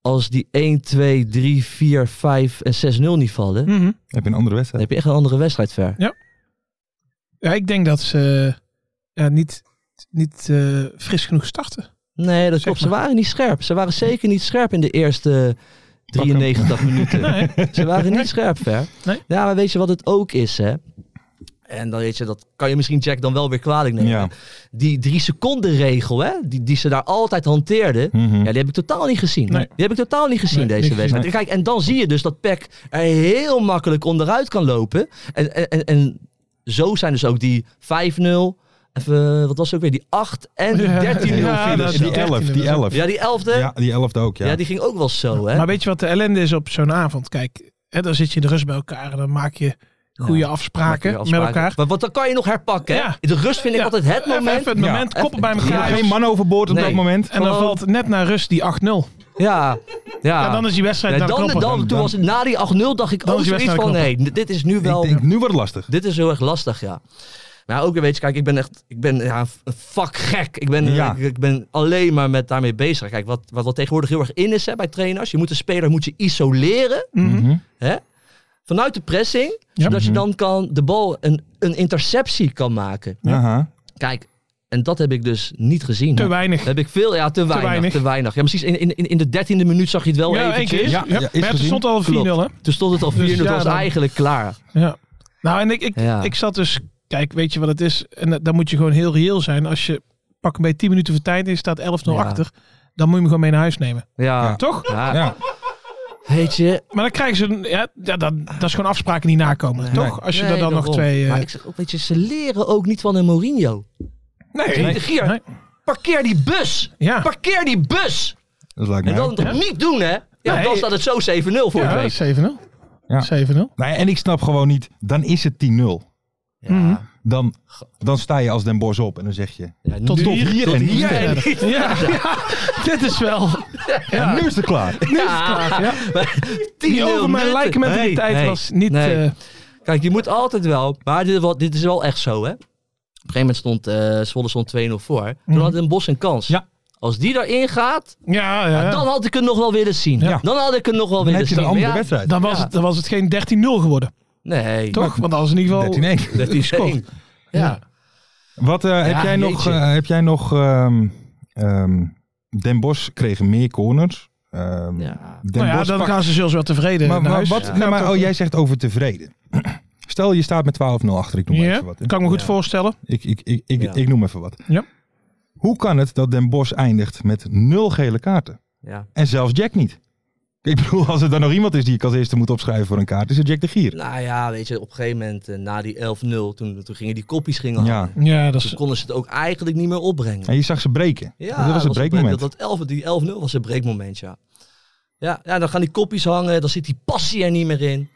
Als die 1, 2, 3, 4, 5 en 6-0 niet vallen.
Mhm.
Heb je een andere
Dan
wedstrijd?
heb je echt een andere wedstrijd ver.
Ja, ik denk dat ze eh, ja, niet, niet eh, fris genoeg starten.
Nee, dat klopt. Ze
maar.
waren niet scherp. Ze waren zeker niet scherp in de eerste 93 minuten.
Nee.
Ze waren niet scherp, ver.
Nee.
Ja, maar weet je wat het ook is, hè? En dan weet je, dat kan je misschien Jack dan wel weer kwalijk nemen.
Ja.
Die drie seconden regel, hè? Die, die ze daar altijd hanteerden.
Mhm.
Ja, die heb ik totaal niet gezien.
Hm. Nee.
Die heb ik totaal niet gezien
Nee, niet
deze
gezien.
wedstrijd. Kijk, en dan zie je dus dat Peck er heel makkelijk onderuit kan lopen. En, en, en, en zo zijn dus ook die 5-0. Even, wat was het ook weer? Die 8 en die 13-0
Ja,
vielen.
dat-
En die 11, die 11.
Ja, die 11e.
Ja,
Ja,
die 11 ook, ja.
die ging ook wel zo, hè?
Maar weet je wat de ellende is op zo'n avond? Kijk, hè, dan zit je in de rust bij elkaar en dan maak je goede
Ja,
afspraken,
Maak je
met elkaar.
Maar, want dan kan je nog herpakken. hè?
Ja.
De rust vind ik
Ja.
altijd het
Even,
moment. Oh.
even het
Ja.
moment, koppen bij
Even-
elkaar.
Ja, dus-
Geen man overboord op
Nee.
dat moment.
En dan valt net naar rust die 8-0.
Ja. ja.
Ah.
En dan is die wedstrijd
Nee,
naar
dan, dan,
knoppen.
toen was het na die 8-0 dacht ik
Dan
ook
is die
zoiets
wedstrijd
van nee, dit is nu wel
Ik denk, nu wordt het lastig.
dit is heel erg lastig, ja. Maar ja, ook weer weet je, kijk, ik ben echt, ik ben ja, een vakgek. Ik ben,
Ja.
ik, ik ben alleen maar met daarmee bezig. Kijk, wat, wat wel tegenwoordig heel erg in is hè, bij trainers, je moet de speler moet je isoleren
Mhm.
Mhm.
hè, vanuit de pressing,
Ja.
zodat je
Mhm.
dan kan de bal een, een interceptie kan maken.
Aha.
Kijk, en dat heb ik dus niet gezien.
Te weinig.
Heb ik veel, ja, te weinig, te weinig.
weinig.
Ja, precies, in, in, in- in de dertiende minuut zag je het wel
Ja, één
eventjes.
keer.
Ja, ja, is
Ja, maar ja, het
gezien.
stond al 4-0 hè?
Toen stond het al 4-0,
Dus
toen
ja,
was
dan-
eigenlijk klaar.
Ja. Nou, en ik, ik,
Ja.
ik zat dus... Kijk, weet je wat het is? En eh, dan moet je gewoon heel reëel zijn. Als je pak een beetje 10 minuten voor tijd en je staat 11-0
Ja.
achter... dan moet je hem gewoon mee naar huis nemen.
Ja.
Toch?
Ja.
Ja.
Weet je,
Maar dan krijgen ze... een- Ja, ja, dat, dat is gewoon afspraken die nakomen. Toch? Als je
Nee,
daar dan nog
daarom.
twee... eh,
Maar ik zeg ook, weet je, ze leren ook niet van een Mourinho.
nee,
De Gier,
Nee.
parkeer die bus!
Ja.
Parkeer die bus!
Dat lijkt
En
mij
dan
ook.
toch niet doen, hè? Ja,
Nee.
dan staat het zo 7-0 voor
Ja,
de
dat
week.
is 7-0.
Ja.
7-0.
Nou ja, en ik snap gewoon niet, dan is het 10-0.
Mhm.
Dan, dan sta je als Den Bos op en dan zeg je...
Ja,
Tot
nu-
hier,
hier
tot
en hier
en
niet.
Ja, dit is wel...
En nu is het klaar.
Ja. Maar 10-0
Die over mijn
netten.
lijkmentaliteit
Nee, nee,
was niet...
nee.
eh,
Kijk, je moet altijd wel. Maar dit, wa- dit is wel echt zo, hè? Op een gegeven moment stond eh Zwolle stond 2-0 voor. Toen had een Bos een kans.
Mhm. Ja.
Als die daarin gaat,
ja, ja, ja.
dan had ik het nog wel willen zien.
Ja.
Dan had ik het nog wel
Dan
willen
heb je
zien.
een andere
Maar ja,
wedstrijd.
Dan was,
Ja.
het, dan was het geen 13-0 geworden,
Nee.
toch? Want als in ieder geval... Nou
13-1.
Dat is
gescoord.
Ja.
Wat eh, heb, jij nog,
jeetje.
eh, heb jij nog? ehm, ehm, Den Bos kreeg meer corners. Ehm,
ja.
Den
Nou ja,
Bosch
dan
pak-
gaan ze zelfs wel tevreden
maar,
naar
maar
huis.
wat?
Ja.
nou, maar, oh, jij zegt over tevreden. Stel je staat met 12-0 achter. Ik noem maar
Ja,
even wat. hè.
kan ik me goed voorstellen.
Ik, ik, ik, ik,
Ja.
ik noem even wat.
Ja.
Hoe kan het dat Den Bos eindigt met nul gele kaarten
Ja.
en zelfs Jack niet? Ik bedoel, als er dan nog iemand is die ik als eerste moet opschrijven voor een kaart, is het Jack de Gier.
Nou ja, weet je, op een gegeven moment eh, na die 11-0, toen, toen gingen die koppies gingen
Ja.
hangen.
Ja, dat
Toen
is...
konden ze het ook eigenlijk niet meer opbrengen.
En je zag ze breken.
Ja,
dat was het breekmoment.
Dat, dat 11, die 11-0 was het breekmoment, ja. ja. Ja, dan gaan die koppies hangen, dan zit die passie er niet meer in.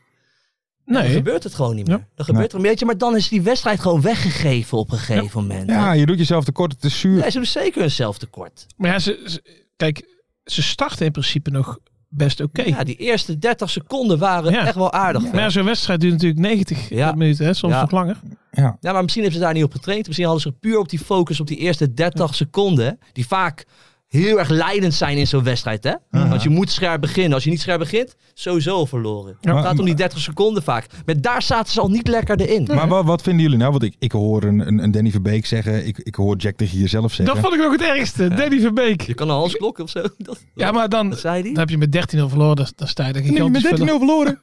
Dan
Nee.
gebeurt het gewoon niet
Ja.
meer. Dan gebeurt er, weet je, maar dan is die wedstrijd gewoon weggegeven op een gegeven moment.
Ja, je doet jezelf tekort, het is zuur.
Ja, ze hebben zeker een zelftekort.
Maar ja, ze, ze- kijk, ze starten in principe nog best oké.
Ja, die eerste 30 seconden waren
Ja.
echt wel aardig.
Maar ja, zo'n wedstrijd duurt natuurlijk 90
Ja.
minuten, hè, soms
Ja.
nog langer.
Ja.
Ja, maar misschien hebben ze daar niet op getraind. Misschien hadden ze puur op die focus op die eerste 30 seconden. Die vaak heel erg leidend zijn in zo'n wedstrijd. Hè? Want je moet scherp beginnen. Als je niet scherp begint, sowieso al verloren.
Ja.
Het gaat om die 30 seconden vaak. Maar daar zaten ze al niet lekker erin.
Maar wat, wat vinden jullie nou? Want ik, ik hoor een, een, een Danny Verbeek zeggen, ik, ik hoor Jack de Gier zelf zeggen.
Dat vond ik nog het ergste. Danny Verbeek.
Je kan een Hans Klok of zo. Dat,
Ja, maar dan,
dat zei
dan
hij.
heb je met 13-0 verloren. Dan, dan sta je daar gigantisch
met 13-0
verloren.
verloren.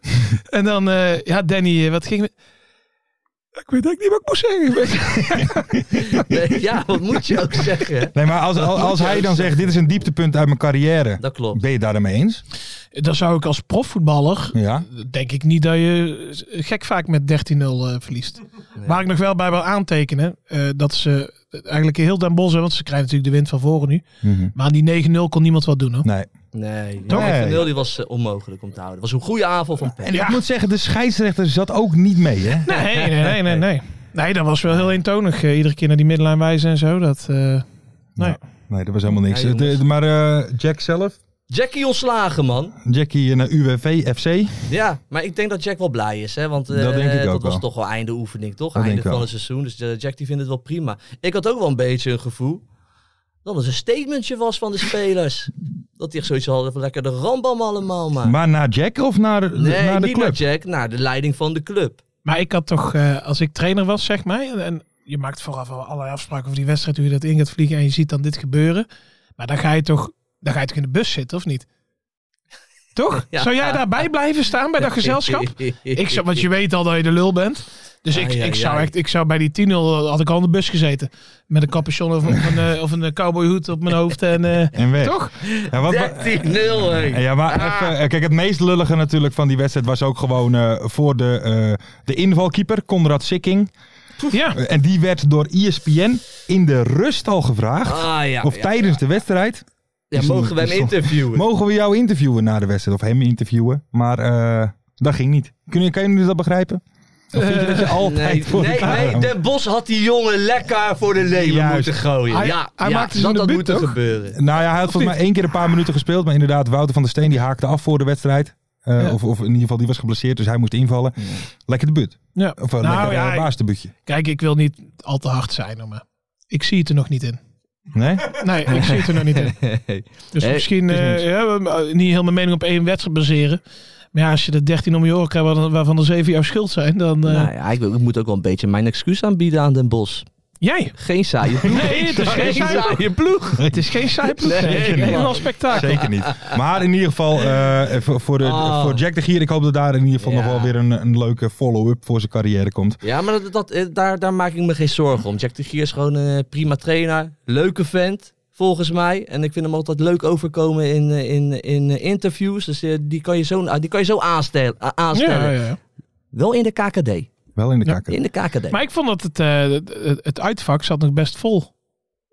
En dan, eh, ja, Danny, eh, wat ging... met- Ik weet eigenlijk niet wat ik moest zeggen. Ik weet-
Nee, ja, wat moet je ook zeggen?
Nee, maar als, als, als hij dan zegt, dit is een dieptepunt uit mijn carrière.
Dat klopt.
Ben je daar dan mee eens?
Dan zou ik als profvoetballer,
Ja.
denk ik niet dat je gek vaak met 13-0 eh, verliest. Waar ik nog wel bij wil aantekenen, eh, dat ze eigenlijk heel Den Bosch, want ze krijgen natuurlijk de wind van voren nu.
Mhm.
Maar aan die 9-0 kon niemand wat doen hoor.
Nee.
Nee, die
Toch?
Van Neel, die was eh, onmogelijk om te houden. Het was een goede avond van Peck.
En ik moet zeggen, de scheidsrechter zat ook niet mee, hè?
Nee, nee, nee, nee. Nee, nee dat was wel heel eentonig. eh, iedere keer naar die middenlijn wijzen en zo. Dat, eh, nee.
Nee, dat was helemaal niks.
Ja, jongens.
De- de- maar eh, Jack zelf?
Jackie ontslagen, man.
Jackie eh, naar UWV FC.
Ja, maar ik denk dat Jack wel blij is, hè? Want eh,
Dat denk ik ook
dat was
wel.
toch wel einde oefening, toch?
Dat denk
einde
ik wel.
van het seizoen. Dus eh, Jack die vindt het wel prima. Ik had ook wel een beetje een gevoel dat het een statementje was van de spelers. dat die echt zoiets hadden van lekker de rambam allemaal, maar...
Maar naar Jack of naar,
nee,
naar de
niet
club?
naar Jack, naar de leiding van de club.
Maar ik had toch, eh, als ik trainer was, zeg maar, en- en je maakt vooraf al allerlei afspraken over die wedstrijd, hoe je dat in gaat vliegen en je ziet dan dit gebeuren. Maar dan ga je toch, dan ga je toch in de bus zitten, of niet? Toch?
Ja.
Zou jij daarbij blijven staan bij dat gezelschap? Ik zou, want je weet al dat je de lul bent. Dus ik,
Ai, ai,
ik, zou,
ai.
echt, ik zou bij die 10-0 had ik al in de bus gezeten. Met een capuchon of, of een, eh, of een cowboyhoed op mijn hoofd. En, eh,
En weg.
toch?
Ja, wat,
13-0, hé. Ah.
ja, maar even, eh, kijk, het meest lullige natuurlijk van die wedstrijd was ook gewoon eh, voor de, eh, de invalkeeper, Conrad Sikking.
Ja.
Eh, En die werd door ESPN in de rust al gevraagd.
Ah, ja,
of
ja,
tijdens de wedstrijd.
Ja, mogen we hem interviewen?
Mogen we jou interviewen na de wedstrijd? Of hem interviewen? Maar eh, dat ging niet. Kun je, kan jullie dat begrijpen? Of vind je
Eh,
dat je altijd
Nee,
voor
nee,
elkaar
nee,
houdt?
Den Bos had die jongen lekker voor de leven
Juist.
moeten gooien.
Hij-
ja,
hij
ja,
maakte zijn
dat had
debuut,
moeten
toch?
gebeuren.
Nou ja, hij had volgens mij één keer een paar minuten gespeeld. Maar inderdaad, Wouter van der Steen die haakte af voor de wedstrijd. Eh,
Ja.
of, of in ieder geval, die was geblesseerd, dus hij moest invallen.
Mm.
Lekker de buurt.
Ja.
Of eh,
Nou,
lekker
ja,
eh,
ik-
baasdebuutje.
Kijk, ik wil niet al te hard zijn, hoor, maar ik zie het er nog niet in.
Nee?
Nee, ik zie het er nog niet in. Dus
Hey,
misschien
het is
eh,
niks.
ja, we- eh, niet heel mijn mening op één wedstrijd baseren. Maar ja, als je de 13 om je oren krijgt, waarvan- waarvan er 7 jouw schuld zijn, dan... eh,
Nou ja, ik, ik moet ook wel een beetje mijn excuus aanbieden aan Den Bos.
Jij!
Geen saaie ploeg.
Nee, het is geen saai-
saaie ploeg.
Het is geen saaiplek.
Nee,
Nee,
zeker
nee,
niet.
een spektakel.
Zeker niet. Maar in ieder geval, eh, voor, voor, de,
Oh.
voor Jack de Gier, ik hoop dat daar in ieder geval nog
Ja.
wel weer een, een leuke follow-up voor zijn carrière komt.
Ja, maar dat, dat, eh, daar, daar maak ik me geen zorgen om. Jack de Gier is gewoon een eh, prima trainer. Leuke vent, volgens mij. En ik vind hem altijd leuk overkomen in, eh, in, in eh, interviews. Dus eh, die, kan je zo, die kan je zo aanstellen. a- aanstellen.
Ja, ja, ja.
Wel in de KKD. In
Wel in de
Ja.
kakken.
de KKD.
Maar ik vond dat het, eh, het- het uitvak zat nog best vol.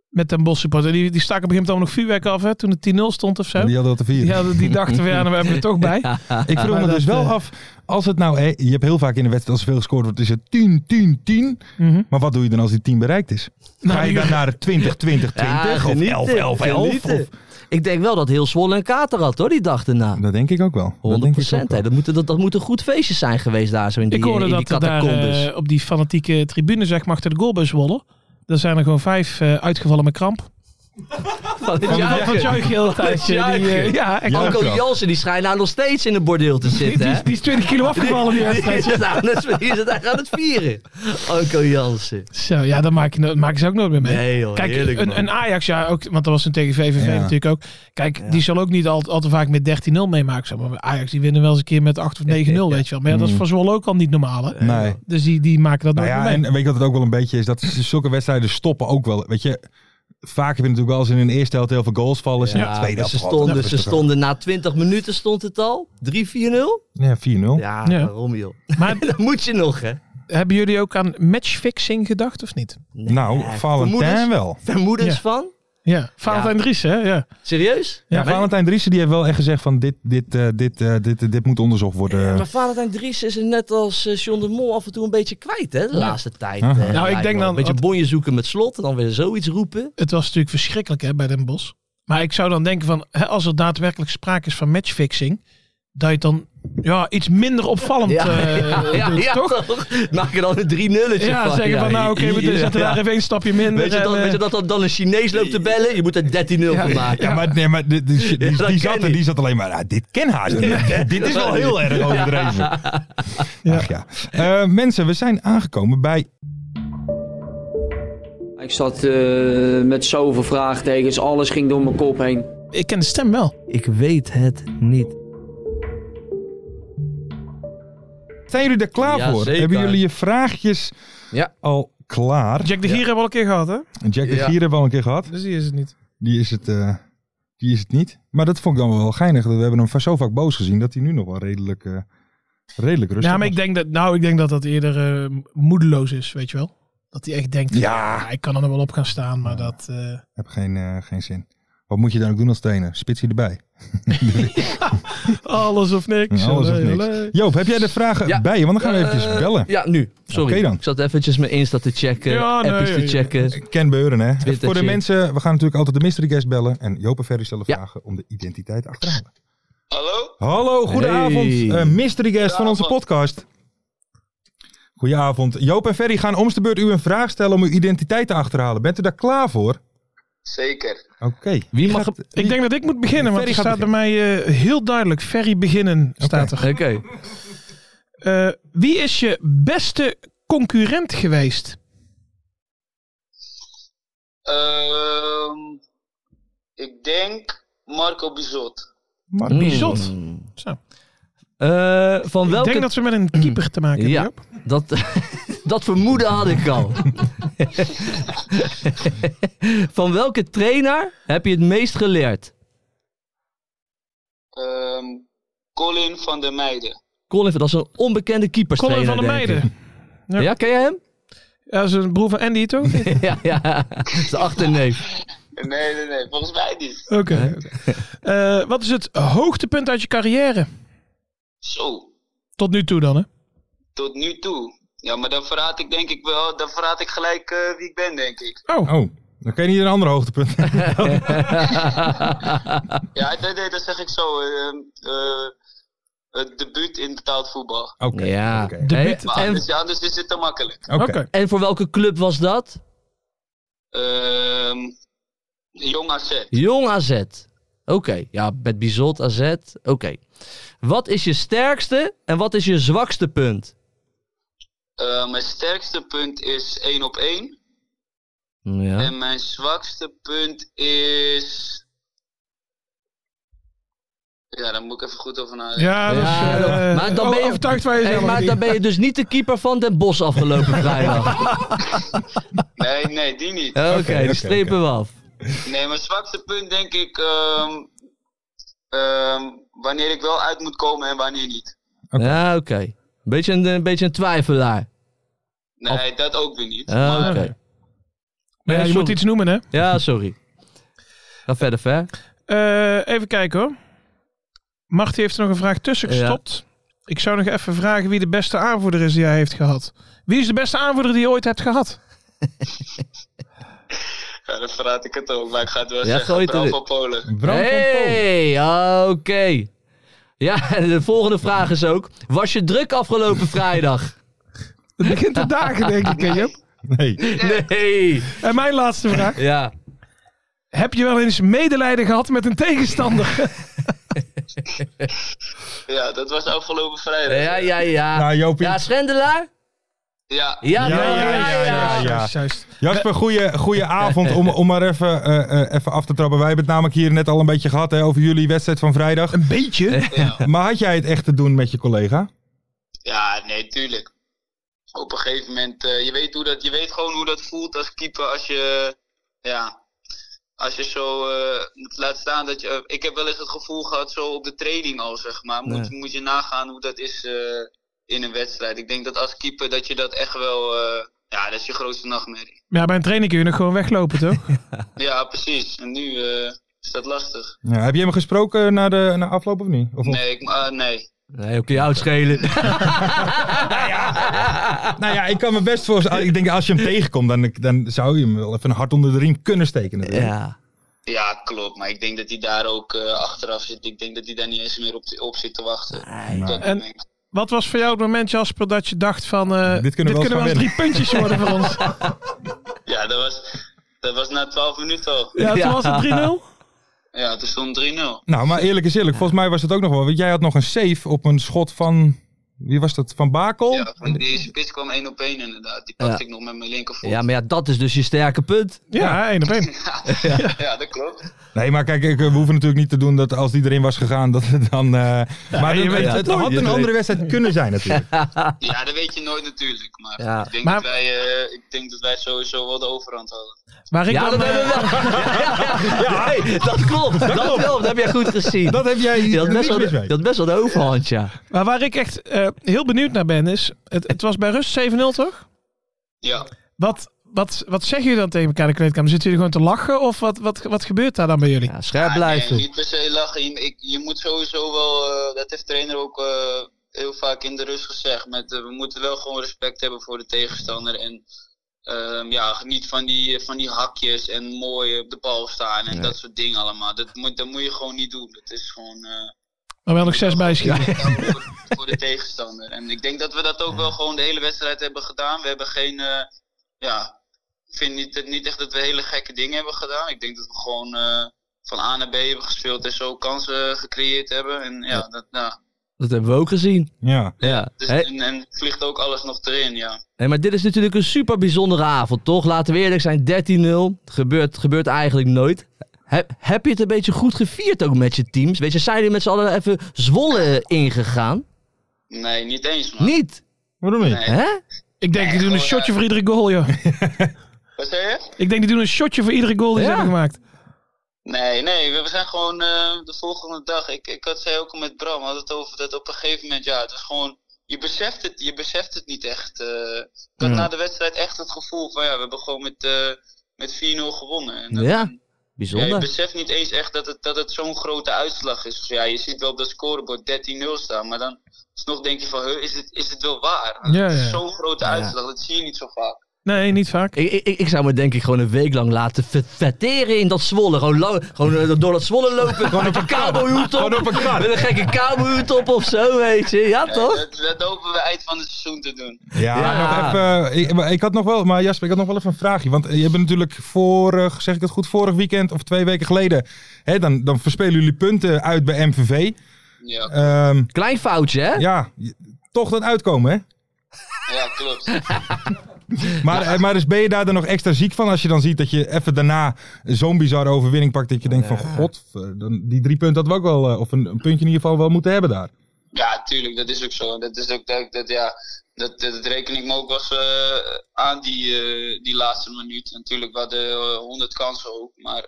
Met Den Bosch supporter. Die, die staken op een gegeven moment allemaal nog vuurwerk af, hè, toen het 10-0 stond of zo.
Die hadden dat te vieren.
Die, hadden, die dachten, we, ja, nou, we hebben er toch bij.
Ik vroeg
Maar
me
dat,
dus wel
eh,
af, als het nou, hè, je hebt heel vaak in de wedstrijd als er veel gescoord wordt, is het 10, 10, 10.
Mhm.
Maar wat doe je dan als die 10 bereikt is?
Nou,
Ga je dan naar 20, 20, 20 of
genieten,
11, 11, 11?
genieten. Ik denk wel dat heel Zwolle een kater had hoor, die dag erna. 100%
Dat denk ik ook wel. Dat denk ik ook
hè.
wel.
Dat, moeten, dat, dat moeten goed feestjes zijn geweest daar zo in die,
Ik hoorde
in die
dat er daar
catacombes.
eh, op die fanatieke tribune, zeg maar, achter de goalbus wollen. Daar zijn er gewoon vijf eh, uitgevallen met kramp.
Van het
Van ja, van
juichen.
het juichen de hele tijd.
Van het
eh, die, eh,
juichen.
ja, echt.
Anko
Juichen.
Jansen die schijnt nou nog steeds in het bordeel te zitten. hè?
Die, die is 20 kilo afgevallen die
Die
wedstrijd.
is het aan het- die is het aan het vieren. Anko Jansen.
Zo, ja, daar maak je, dat maken ze ook nooit meer mee.
Nee joh,
Kijk,
heerlijk man.
een, een Ajax, ja, ook, want dat was een tegen VVV
Ja.
natuurlijk ook. Kijk, die zal ook niet al, al te vaak met 13-0 meemaken. Zeg maar Ajax, die winnen wel eens een keer met 8 of 9-0, weet je wel. Maar ja, dat is
Mm.
voor Zwolle ook al niet normaal, hè?
Nee.
Dus die, die maken dat
Nou
nooit
ja,
meer mee.
en weet je wat het ook wel een beetje is? Dat zulke wedstrijden stoppen ook wel. Weet je, vaak heb je natuurlijk wel eens in een eerste helft heel veel goals vallen. Ja,
Ja,
de tweede
maar
helft
ze
valt het
stonden, ze
rustig af.
stonden na 20 minuten stond het al. 3-4-0.
Ja, 4-0.
Ja,
Ja.
waarom joh?
Maar
Dat moet je nog hè.
hebben jullie ook aan matchfixing gedacht, of niet?
Nou, Valentijn
vermoedens.
wel.
Vermoedens
Ja.
van?
Ja, Valentijn Dries, hè? Ja.
Serieus?
Ja,
maar-
Valentijn Driessen die heeft wel echt gezegd van dit, dit, eh, dit, eh, dit, dit, dit moet onderzocht worden.
Maar Valentijn Dries is er net als eh, John de Mol af en toe een beetje kwijt, hè, de laatste tijd.
Aha.
eh,
Nou,
ik
lijkt
denk
me.
dan-
Een beetje
want-
bonje zoeken met slot en dan weer zoiets roepen.
Het was natuurlijk verschrikkelijk, hè, bij Den Bosch. Maar ik zou dan denken van, hè, als er daadwerkelijk sprake is van matchfixing, dat je het dan ja, iets minder opvallend eh, doet, toch?
Maak er dan een 3 nulletje
Ja,
van.
zeggen van nou oké, we
ja,
zetten daar
ja.
even een stapje minder.
Weet je, dat,
en, eh,
weet je dat dat dan een Chinees loopt te bellen? Je moet er 13-0 van maken.
Ja, maar, nee, maar die, die, die,
Ja, dat
die
ken
zat, er-
ik.
die zat alleen maar, ah, dit ken haast niet. Dit is wel heel erg overdreven. Ach ja. Eh, mensen, we zijn aangekomen bij
Ik zat eh, met zoveel vraagtekens, alles ging door mijn kop heen.
Ik ken de stem wel.
Ik weet het niet.
Zijn jullie er klaar
Ja,
voor?
zeker.
Hebben jullie je vraagjes
Ja.
al klaar?
Jack de Gier hebben we al een keer gehad, hè?
Jack de
Ja.
Gier hebben we al een keer gehad.
Dus die is het niet.
Die is het, eh, die is het niet. Maar dat vond ik dan wel geinig. We hebben hem van zo vaak boos gezien dat hij nu nog wel redelijk, eh, redelijk rustig
Ja, maar ik
was.
denk dat, nou, ik denk dat dat eerder eh, moedeloos is, weet je wel? Dat hij echt denkt,
Ja.
ja, ik kan er nog wel op gaan staan, maar dat... eh,
Heb geen, eh, geen zin. Wat moet je dan ook doen als trainer? Spits hij erbij.
Alles of niks. eh,
Alles of
Allee,
niks.
allee.
Joop, heb jij de vragen
Ja.
bij je? Want dan gaan we eventjes
Eh,
bellen.
Ja, nu. Sorry.
Oké dan.
Ik zat eventjes mijn Insta te checken,
Ja, nee,
appjes
ja, ja.
te checken.
Ken beuren, hè?
Twittertje.
Voor de mensen, we gaan natuurlijk altijd de mystery guest bellen. En Joop en Ferry stellen vragen om de identiteit achterhalen. Hallo? Hallo, goedenavond.
Hey.
eh, mystery guest van onze podcast. Goedenavond. Joop en Ferry gaan om de beurt u een vraag stellen om uw identiteit te achterhalen. Bent u daar klaar voor?
Zeker.
Oké.
Wie mag
Ik denk dat ik moet beginnen, want
Ferry
er
gaat
staat bij mij eh, heel duidelijk. Ferry beginnen staat er.
Oké.
Eh, wie is je beste concurrent geweest?
Ehm, ik denk Marco Bizot.
Maar Bizot. Zo.
Mm. Eh, van
Ik
welke-
denk dat ze met een keeper te maken hebben.
Ja, dat, dat vermoeden had ik al. Van welke trainer heb je het meest geleerd?
Ehm, Colin van der Meijden.
Colin, dat is een onbekende keeperstrainer.
Colin van der
denk ik.
Meijden.
Ja. ken jij hem?
Ja, dat is een broer van Andy, toch?
ja, ja, dat is de achterneef.
Nee, nee, nee. Volgens mij niet.
Oké. Eh, wat is het hoogtepunt uit je carrière?
Zo,
Tot nu toe dan, hè?
tot nu toe. Ja, maar dan verraad ik denk ik wel, dan verraad ik gelijk eh, wie ik ben, denk ik.
Oh.
Dan kan je niet een ander hoogtepunt.
Ja, nee, nee, dat zeg ik zo. ehm, eh, het debuut in betaald voetbal.
Oké.
Ja.
Hey,
Hey,
maar
en,
anders, ja, anders is het te makkelijk.
en voor welke club was dat?
Ehm, jong AZ.
Jong AZ. Oké, ja, met Bizot AZ. Oké. Wat is je sterkste en wat is je zwakste punt?
Eh, mijn sterkste punt is 1 op 1.
Ja.
En mijn zwakste punt is. Ja, daar moet ik even goed over nadenken.
Ja, dat is, eh,
maar dan ben je,
overtuigd van jezelf,
Hey, maar
Andy.
dan ben je dus niet de keeper van Den Bos afgelopen vrijdag.
Nee, nee, die niet.
Oké, die strepen we af.
Nee, mijn zwakste punt denk ik. ehm, ehm, wanneer ik wel uit moet komen en wanneer niet.
Ja, oké. Een, beetje een, een beetje een twijfelaar.
Nee, dat ook weer niet.
Ah, oké.
Ja, je moet
sorry.
iets noemen, hè?
Ja, sorry. Ga verder, ver.
Eh, even kijken hoor. Marty heeft er nog een vraag tussen
Ja.
gestopt. Ik zou nog even vragen wie de beste aanvoerder is die hij heeft gehad. Wie is de beste aanvoerder die je ooit hebt gehad?
Ja, dan verraad ik het ook, maar ik ga het wel
Ja, gooi
zeggen.
het
Bram
erin.
van Polen.
hey, oké. Ja, de volgende vraag is ook. Was je druk afgelopen vrijdag?
Het begint te dagen, denk ik, hè, Joop?
Nee.
Nee.
En mijn laatste vraag.
Ja.
Heb je wel eens medelijden gehad met een tegenstander?
Ja, dat was afgelopen vrijdag.
Ja, ja, ja.
Nou, Jopie.
Ja, Schendelaar?
Ja.
Ja, ja, ja. ja,
ja. Jasper, goeie, goeie avond. Om, om maar even, eh, eh, even af te trappen. Wij hebben het namelijk hier net al een beetje gehad hè, over jullie wedstrijd van vrijdag. Een
beetje?
Maar had jij het echt te doen met je collega?
Ja, nee, tuurlijk. Op een gegeven moment, eh, je, weet hoe dat, je weet gewoon hoe dat voelt als keeper als je, ja, als je zo eh, laat staan dat je, eh, ik heb wel eens het gevoel gehad zo op de training al, zeg maar. Moet,
Ja.
moet je nagaan hoe dat is eh, in een wedstrijd. Ik denk dat als keeper dat je dat echt wel, eh, ja, dat is je grootste nachtmerrie.
Ja, bij een training kun je nog gewoon weglopen, toch?
Ja, precies. En nu eh, is dat lastig.
Ja, heb je hem gesproken na, de, na afloop of niet? Of nog?
Nee, ik, ah, nee.
Nee, ook kun je oud schelen.
Nou ja, ik kan me best voorstellen. Ik denk als je hem tegenkomt, dan, dan zou je hem wel even een hart onder de riem kunnen steken. natuurlijk.
Ja.
Ja, klopt. Maar ik denk dat hij daar ook eh, achteraf zit. Ik denk dat hij daar niet eens meer op, op zit te wachten. Dat
En
moment.
wat was voor jou het moment, Jasper, dat je dacht van... eh, dit
kunnen we
kunnen, wel
wel eens
eens
gaan
drie puntjes worden voor ons.
Ja, dat was, dat was na 12 minuten al.
Ja, toen was het 3-0.
Ja, toen stond 3-0.
Nou, maar eerlijk is eerlijk. Volgens mij was het ook nog wel. Want jij had nog een save op een schot van. Wie was dat? Van
Oh.
Bakel?
Ja, want die spits kwam 1 op 1 inderdaad. Die pakte ik nog met mijn linkervoet.
ja, maar ja, dat is dus je sterke punt.
Ja, één op één.
Ja, dat klopt.
Nee, maar kijk, ik- eh, we hoeven natuurlijk niet te doen dat als die erin was gegaan, dat het dan. eh, maar
je
het,
weet
het-
het
het
nooit.
had
Je
een
weet-
andere wedstrijd kunnen zijn, natuurlijk.
Ja, dat weet je nooit natuurlijk. Maar
Ja.
ik, denk
Maar-
Dat wij, eh, ik denk dat wij sowieso wel de overhand hadden.
Waar ik
ja,
dan,
dat
eh,
hebben we wel. Ja, hey, dat klopt. Dat, klopt. Dat heb jij goed gezien.
Dat heb jij
Je had best,
niks
wel,
mis mee.
je had best wel de overhand, ja.
Maar waar ik echt eh, heel benieuwd naar ben is, het, het was bij rust 7-0 toch?
Ja.
Wat, wat, wat zeg je dan tegen elkaar in de kleedkamer? Zitten jullie gewoon te lachen of wat, wat, wat gebeurt daar dan bij jullie? Ja,
scherp
Ah, Nee, niet per se lachen. Je, ik- je moet sowieso wel, eh, dat heeft de trainer ook eh, heel vaak in de rust gezegd. Met, eh, we moeten wel gewoon respect hebben voor de tegenstander. En ehm, ja, geniet van die, van die hakjes en mooi op de bal staan en
Nee.
dat soort dingen allemaal. Dat moet, dat moet je gewoon niet doen. Dat is gewoon eh,
Maar wel nog zes bijschieten.
voor de tegenstander. En ik denk dat we dat ook wel gewoon de hele wedstrijd hebben gedaan. We hebben geen, eh, ja, ik vind niet, niet echt dat we hele gekke dingen hebben gedaan. Ik denk dat we gewoon eh, van A naar B hebben gespeeld en zo kansen gecreëerd hebben. En ja, dat, nou,
Dat hebben we ook gezien.
Ja.
ja.
dus,
Hey,
en, en vliegt ook alles nog erin, ja.
hey, maar dit is natuurlijk een super bijzondere avond, toch? Laten we eerlijk zijn, 13-0. Gebeurt, gebeurt eigenlijk nooit. He- heb je het een beetje goed gevierd ook met je teams? Weet je, zijn jullie met z'n allen even Zwolle ingegaan?
Nee, niet eens, man.
Niet?
Waarom
niet? Nee.
Hè?
Ik denk, die doen een shotje voor iedere goal, joh.
Wat zei je?
Ik denk, die doen een shotje voor iedere goal die ze
Ja.
hebben gemaakt.
Nee, nee, we we zijn gewoon eh, de volgende dag. Ik, ik had zei ook al met Bram, had het over dat op een gegeven moment, ja, het was gewoon, je beseft het, je beseft het niet echt. eh. ik had
Ja.
na de wedstrijd echt het gevoel van, ja, we hebben gewoon met, eh, met 4-0 gewonnen. En dat-
Ja,
ja, je
bijzonder.
beseft niet eens echt dat het, dat het zo'n grote uitslag is. Dus ja, je ziet wel op dat scorebord 13-0 staan, maar dan alsnog denk je van, huh, is, het, is het wel waar?
Ja,
Het is
ja.
Zo'n grote uitslag, dat zie je niet zo vaak.
Nee, niet vaak.
Ik, ik, ik zou me denk ik gewoon een week lang laten vet- vetteren in dat Zwolle. Gewoon, lo- gewoon eh, door dat Zwolle lopen. gewoon op een kabelhoed op. op een Met een gekke kabelhoed op of zo, weet je. Ja,
Ja,
toch?
dat, dat hopen we eind van het seizoen te doen.
Ja, nog even. Ik, maar ik had nog wel, maar Jasper, ik had nog wel even een vraagje. Want eh, je hebt natuurlijk vorig, zeg ik het goed, vorig weekend of twee weken geleden. Hè, dan, dan verspelen jullie punten uit bij MVV.
Klein foutje, hè?
Ehm, Ja, je- toch dat uitkomen, hè?
Ja, klopt.
Maar, eh, maar dus ben je daar dan nog extra ziek van als je dan ziet dat je even daarna zo'n bizarre overwinning pakt. Dat je denkt van, god, eh, dan, die drie punten hadden we ook wel, eh, of een, een puntje in ieder geval wel moeten hebben daar.
Ja, tuurlijk, dat is ook zo. Dat is ook dat, dat ja, dat, dat, dat reken ik me ook wel eens, eh, aan die, eh, die laatste minuut. Natuurlijk, we hadden eh, honderd kansen ook, maar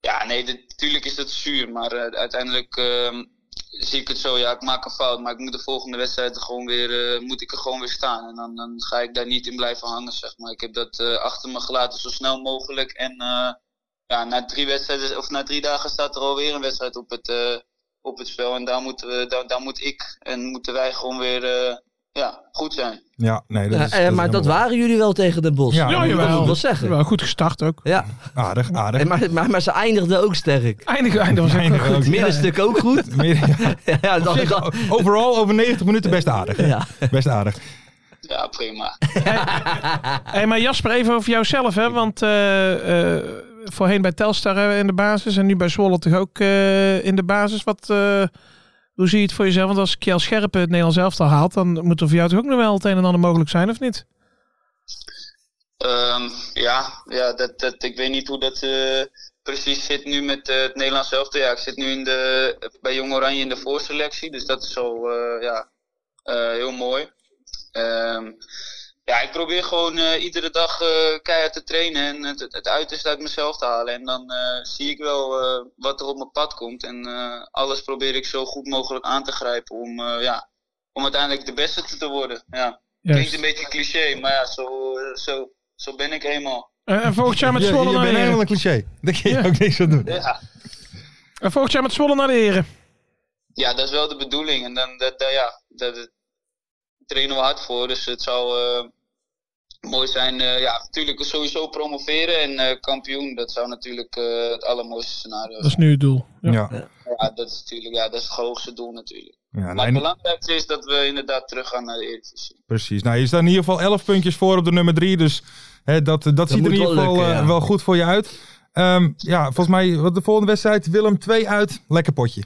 ja, nee, dat- natuurlijk is dat zuur, maar eh, uiteindelijk ehm, zie ik het zo. Ja, ik maak een fout, maar ik moet de volgende wedstrijd er gewoon weer, eh, moet ik er gewoon weer staan. En dan, dan ga ik daar niet in blijven hangen, zeg maar. Ik heb dat eh, achter me gelaten zo snel mogelijk en eh, ja, na drie wedstrijden of na drie dagen staat er alweer een wedstrijd op het. eh, op het spel. En daar, moeten we, daar, daar moet ik en moeten wij gewoon weer eh, ja, goed zijn.
Ja, nee, dat
Ja,
is,
eh, maar dat waren jullie wel tegen Den Bosch.
Ja, Ja,
dat
jawel.
moet ik wel zeggen.
Wel goed gestart ook.
Ja.
Aardig, aardig.
En maar, maar, maar ze eindigden ook sterk.
Eindigen, eindigen was
Eindigen
ook
ook.
goed. Middenstuk ook goed. ja,
Op
dan,
zich,
dan-
o- overal over 90 minuten best aardig. hè?
Ja.
Best aardig.
Ja, prima.
Hey, maar Jasper, even over jouzelf, hè? Want eh, eh, voorheen bij Telstar hè, in de basis en nu bij Zwolle toch ook eh, in de basis. Wat, eh, hoe zie je het voor jezelf? Want als Kjell Scherpen het Nederlands elftal haalt, dan moet er voor jou toch ook nog wel het een en ander mogelijk zijn, of niet?
Ehm, ja, ja dat, dat, ik weet niet hoe dat eh, precies zit nu met eh, het Nederlands elftal. Ja, ik zit nu in de, bij Jong Oranje in de voorselectie, dus dat is zo eh, ja, eh, heel mooi. Ehm, ja, ik probeer gewoon eh, iedere dag eh, keihard te trainen en het, het, het uiterste uit mezelf te halen. En dan eh, zie ik wel eh, wat er op mijn pad komt. En eh, alles probeer ik zo goed mogelijk aan te grijpen om, eh, ja, om uiteindelijk de beste te- te worden. Ja.
Juist.
Klinkt een beetje cliché, maar ja, zo, eh, zo, zo ben ik eenmaal.
Eh, en volgend jaar met
Je-
Zwolle
Je,
naar
bent
de
helemaal
heren.
een eh, cliché. Daar kun je ook niks aan doen.
Ja.
En volgend jaar met Zwolle naar de heren.
ja, dat is wel de bedoeling. En dan, dat, dat- ja, dat, dat trainen we hard voor. Dus het zou eh, mooi zijn. eh, ja, natuurlijk sowieso promoveren en eh, kampioen. Dat zou natuurlijk eh, het allermooiste scenario
Dat is nu het doel.
Ja.
Ja, dat is natuurlijk, ja, dat is het hoogste doel natuurlijk.
Ja,
maar het
nee,
belangrijkste is dat we inderdaad teruggaan naar de Eredivisie.
Precies. Nou, je staat in ieder geval 11 puntjes voor op de nummer 3. Dus hè, dat, dat, ziet er
moet
in ieder
wel
geval
lukken,
eh,
ja.
wel goed voor je uit. Ehm, ja, volgens mij wat de volgende wedstrijd. Willem 2 uit. Lekker potje.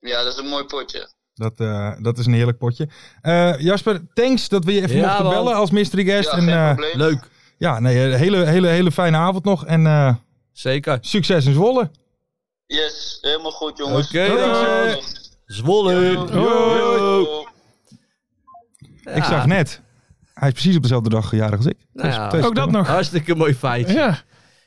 Ja, dat is een mooi potje.
Dat, eh, dat is een heerlijk potje. Eh, Jasper, thanks dat we je even
Ja,
mochten
man.
bellen als mystery guest.
Ja,
en,
geen
eh,
probleem. Leuk.
Ja, nee, een hele, hele, hele fijne avond nog. En, eh,
Zeker.
Succes in Zwolle.
Yes, helemaal goed jongens.
Oké, dankjewel.
Zwolle. Nou
Oh,
Ik
Ja.
zag net. Hij is precies op dezelfde dag jarig als ik.
Nou
Dus
ja,
twee
Hartstikke mooi feitje.
Ja.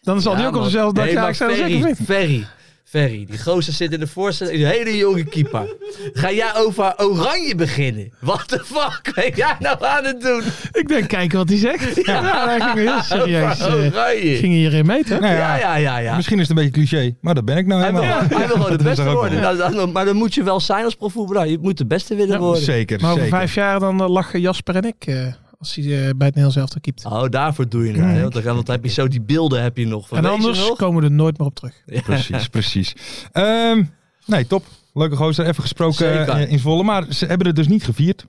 Dan zal die ook op dezelfde dag jarig zijn als ik, of niet?
Ferry. Ferry, die gozer zit in de voorzet, een hele jonge keeper. Ga jij over Oranje beginnen? What the fuck ben jij nou aan het doen?
Ik denk, kijken wat hij zegt. Ja, daar ging heel serieus. eh,
Over Oranje.
ging hierin mee, toch?
Nou eh, Misschien is het een beetje cliché, maar dat ben ik nou
Hij wil,
helemaal.
hij wil gewoon de
Dat is
beste
er ook
worden.
wel.
Nou, dan- maar dan moet je wel zijn als profvoetballer. Je moet de beste willen worden.
Zeker,
Maar over vijf jaar dan eh, lachen Jasper en ik eh, als hij eh, bij het Nederlands elftal kiept.
Oh, daarvoor doe je het. hè? Want dan, want dan heb je zo die beelden heb je nog. Van,
en
weet je
anders
nog?
komen we er nooit meer op terug.
Precies, precies. Ehm, nee, top. Leuke gozer, even gesproken
Zeker.
eh, in Zwolle. Maar ze hebben het dus niet gevierd.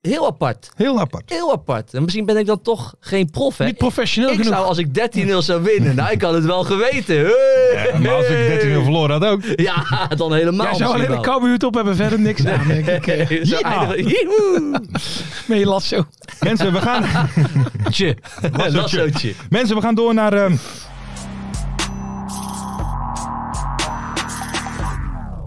Heel apart.
Heel apart.
Heel apart. En misschien ben ik dan toch geen prof, hè?
Niet professioneel
ik
genoeg.
zou als ik 13-0 zou winnen, nou, ik had het wel geweten. Hey!
Ja, maar als ik 13 verloren had ook.
Ja, dan helemaal.
Jij zou alleen de kamerhuut op hebben, verder niks aan, denk ik. eh.
Zo eindigen- Joehoe!
Met je lasso.
Mensen, we gaan...
Tje. Lassootje.
Mensen, we gaan door naar... ehm,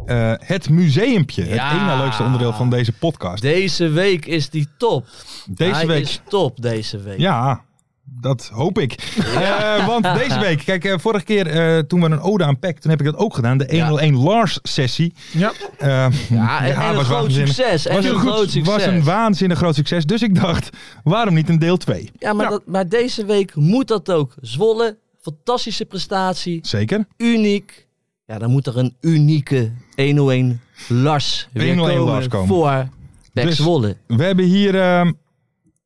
eh, het museumpje. Het
Ja.
ene leukste onderdeel van deze podcast.
Deze week is die top.
Deze
Hij
week.
is top deze week.
Ja, dat hoop ik. Eh, want deze week, kijk, eh, vorige keer eh, toen we een ode aan PEC, toen heb ik dat ook gedaan. De 101 Lars-sessie.
Ja.
Oh.
Eh,
en- en een groot
waanzinnig.
succes, en
Was
een
goed,
groot succes.
was een waanzinnig groot succes. Dus ik dacht, waarom niet een deel 2?
Ja, maar, Dat, maar deze week moet dat ook. Zwolle, fantastische prestatie.
Zeker.
Uniek. Ja, dan moet er een unieke 101 Lars weer
101
komen,
Lars komen.
voor Pek
Dus-
Zwolle.
We hebben hier ehm,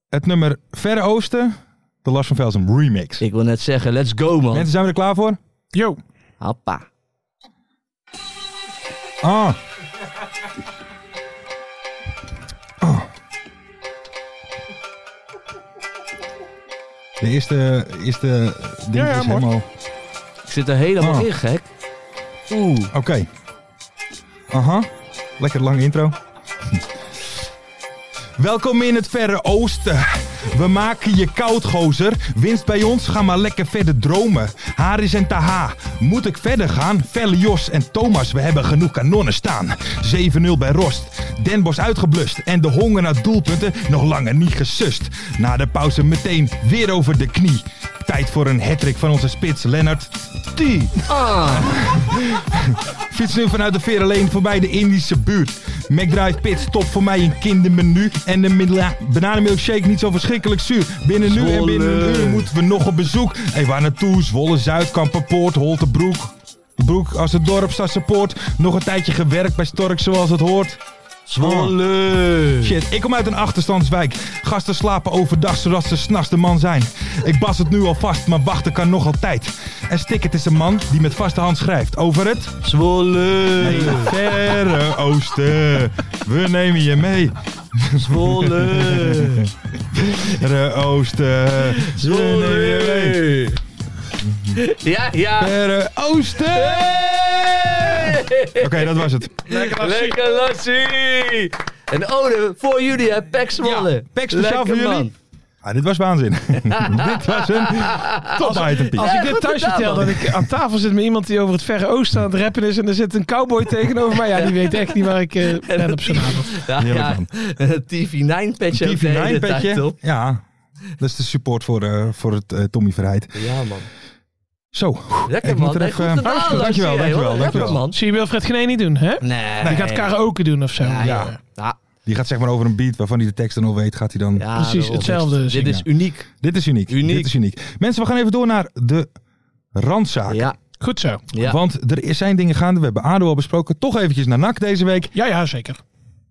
het nummer Verre Oosten, de Lars van Velsen remix.
Ik wil net zeggen, let's go man.
Mensen, zijn we er klaar voor?
Yo.
Hoppa.
Ah. Ah. De eerste, eerste ding
Ja, ja,
is
mooi.
helemaal...
Ik zit er helemaal
Ah.
in, gek. Oeh.
Oké. Aha. Lekker lange intro. Welkom in het verre oosten. We maken je koud, gozer. Winst bij ons, ga maar lekker verder dromen. Haris en Taha, moet ik verder gaan? Felle Jos en Thomas, we hebben genoeg kanonnen staan. 7-0 bij Rost. Den Bosch uitgeblust. En de honger naar doelpunten nog langer niet gesust. Na de pauze meteen weer over de knie. Tijd voor een hattrick van onze spits, Lennart T. Fiets nu vanuit de Verenleen voorbij de Indische buurt. McDrive Pit stop voor mij een kindermenu. En de mila- bananenmilkshake niet zo verschrikkelijk zuur. Binnen nu en binnen een uur moeten we nog op bezoek. Hé, waar naartoe? Zwolle, Zuidkamperpoort, Holtebroek. Broek als het dorp staat support. Nog een tijdje gewerkt bij Stork zoals het hoort.
Oh.
Zwolle.
Shit, ik kom uit een achterstandswijk. Gasten slapen overdag zodat ze s'nachts de man zijn. Ik bas het nu al vast, maar wachten kan nog altijd. En Stickert is een man die met vaste hand schrijft over het...
Zwolle.
In het verre oosten, we nemen je mee.
Zwolle.
Verre oosten, we nemen je mee.
Zwolle. Ja, ja.
Verre oosten! Oké, dat was het.
Lekker Lassie. En Ode, voor jullie hè, Pek Zwolle.
Pek speciaal voor jullie. Ah, dit was waanzin. dit was een top itempie.
Als
Ja,
ik dit
goed
thuis
gedaan,
vertel,
man.
dat ik aan tafel zit met iemand die over het Verre Oosten aan het rappen is. En er zit een cowboy tegenover mij. Ja, die weet echt niet waar ik eh, ben op zijn avond.
Ja,
Heerlijk,
ja.
man.
TV9 petje. ook de hele tijd
TV9 petje.
op.
Ja, dat is de support voor, eh, voor het eh, Tommy Verheid.
Ja man.
Zo,
Lekker
Ik
man.
moet er
Hey,
even-
goed gedaan,
Hartstikke
Lassie,
goed. Dankjewel,
hey,
dankjewel,
hoor. Lekker,
dankjewel.
man.
Zie je Wilfred Genee niet doen, hè?
Nee.
Die gaat karaoke doen of zo.
Ja,
Ja.
ja. Ja,
die gaat zeg maar over een beat waarvan hij de tekst dan al weet. Gaat hij dan...
ja,
Precies
daarom.
hetzelfde.
Dit is uniek.
Dit is uniek.
Uniek.
Dit is uniek. Mensen, we gaan even door naar de randzaak.
Ja.
Goed zo.
ja.
Want er zijn dingen gaande. We hebben ADO al besproken. Toch eventjes naar NAC deze week.
Ja, ja, zeker.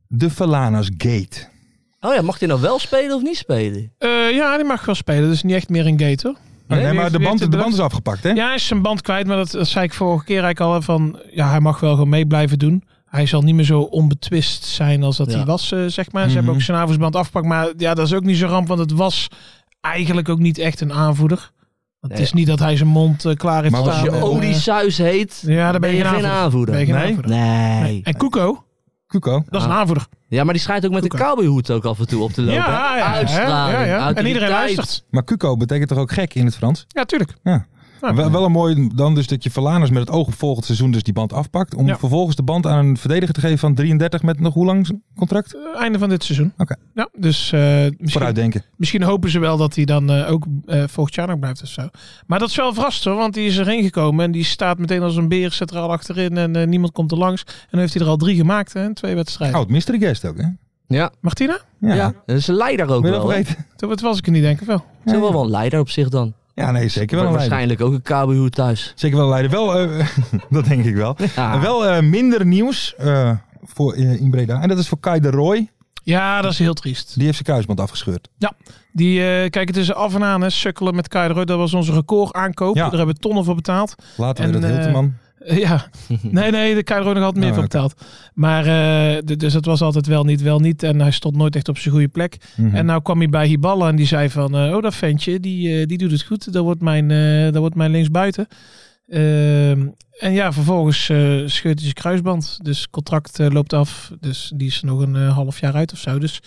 De Falanas Gate.
Oh ja, mag hij nou wel spelen of niet spelen?
Eh, ja, die mag wel spelen. Dus niet echt meer een gate, hoor.
Nee,
wie
maar
heeft-
de
wie
band,
heeft het
de band is
bedacht?
afgepakt, hè?
Ja, hij is zijn band kwijt. Maar dat, dat zei ik vorige keer eigenlijk al. hè, Van, ja, hij mag wel gewoon mee blijven doen. Hij zal niet meer zo onbetwist zijn als dat
Ja.
hij was, eh, zeg maar. Ze
Mhm.
hebben ook zijn avondsband afgepakt. Maar ja, dat is ook niet zo ramp. Want het was eigenlijk ook niet echt een aanvoerder. Want
Nee.
het is niet dat hij zijn mond eh, klaar heeft
Maar was
Als
staan.
je
eh,
Odie
eh,
Suis heet,
ja, dan
ben je geen aanvoerder.
Ben je geen
Nee?
aanvoerder.
Nee.
En Kuko,
Kuko.
dat is een aanvoerder.
Ja, maar die schijnt ook met een
Koeken.
cowboyhoed ook af en toe op te lopen.
Ja,
hè?
ja, ja,
Uitstraling,
ja, ja. En
autoriteit.
iedereen luistert.
Maar Kuko betekent toch ook gek in het Frans?
Ja, tuurlijk. Nou,
Ja. Wel, wel een mooi dan dus dat je Verlaners met het oog op volgend seizoen dus die band afpakt. Om
Ja.
vervolgens de band aan een verdediger te geven van 33 met nog hoe lang contract?
eh, Einde van dit seizoen.
Oké.
Ja, dus eh, misschien,
Vooruitdenken.
misschien hopen ze wel dat hij dan eh, ook eh volgend jaar nog blijft of zo. Maar dat is wel verrast hoor, want die is erin gekomen en die staat meteen als een beer centraal achterin en eh, niemand komt er langs. En dan heeft hij er al drie gemaakt hè, in twee wedstrijden.
Oud Oh, mystery guest ook hè?
Ja.
Martina?
Ja.
dat is een leider ook
Wil je
wel.
dat
hè?
vergeten? Dat was ik er niet denk ik wel.
Ze zijn wel wel een leider op zich dan.
Ja, nee, zeker wel een leider.
Waarschijnlijk ook een KBU thuis.
Zeker wel Leiden. Wel, eh, dat denk ik wel.
Ja.
Wel eh, minder nieuws eh, voor, eh, in Breda. En dat is voor Kai de Roy.
Ja, dat is heel triest.
Die heeft zijn kruisband afgescheurd.
Ja, die, eh, kijk, het is af en aan, hè, sukkelen met Kai de Roy. Dat was onze record aankoop.
Ja.
Daar hebben we tonnen voor betaald.
Later
En,
werd het
eh,
Hilterman.
eh, ja, nee, nee, de Kai de Roy nog altijd meer
Oh,
voor
oké.
betaald. Maar, eh, d- dus het was altijd wel niet, wel niet. En hij stond nooit echt op zijn goede plek.
Mhm.
En nou kwam hij bij Hiballa en die zei van, eh, oh, dat ventje, die, eh, die doet het goed. Dat wordt mijn, eh dat wordt mijn linksbuiten. Ehm, en ja, vervolgens eh, scheurt hij zijn kruisband. Dus contract eh, loopt af. Dus die is er nog een eh, half jaar uit of zo. Dus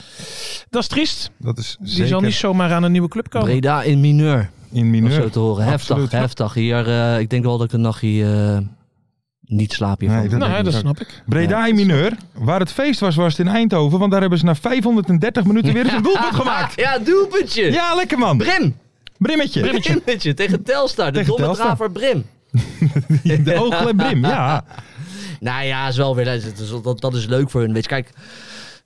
dat is triest.
Dat is
Die zal niet zomaar aan een nieuwe club komen.
Breda in mineur.
In
Om
mineur.
zo te horen. Heftig,
Absoluut.
heftig. Hier, eh, ik denk wel dat ik een nachtje eh, niet slaap hiervan.
Nee, dat
Nou,
denk
ja,
ook.
dat snap ik.
Breda in mineur. Waar het feest was, was het in Eindhoven. Want daar hebben ze na 530 minuten weer eens een doelpunt gemaakt.
Ah, ja, doelpuntje.
Ja, lekker man.
Brim.
Brimmetje.
Brimmetje tegen Telstar. De
Tegen
domme
Telstar.
draver Brim.
De ooglep Brim, ja.
Nou ja, is wel weer, dat, is, dat, dat is leuk voor hun. Weet je, kijk,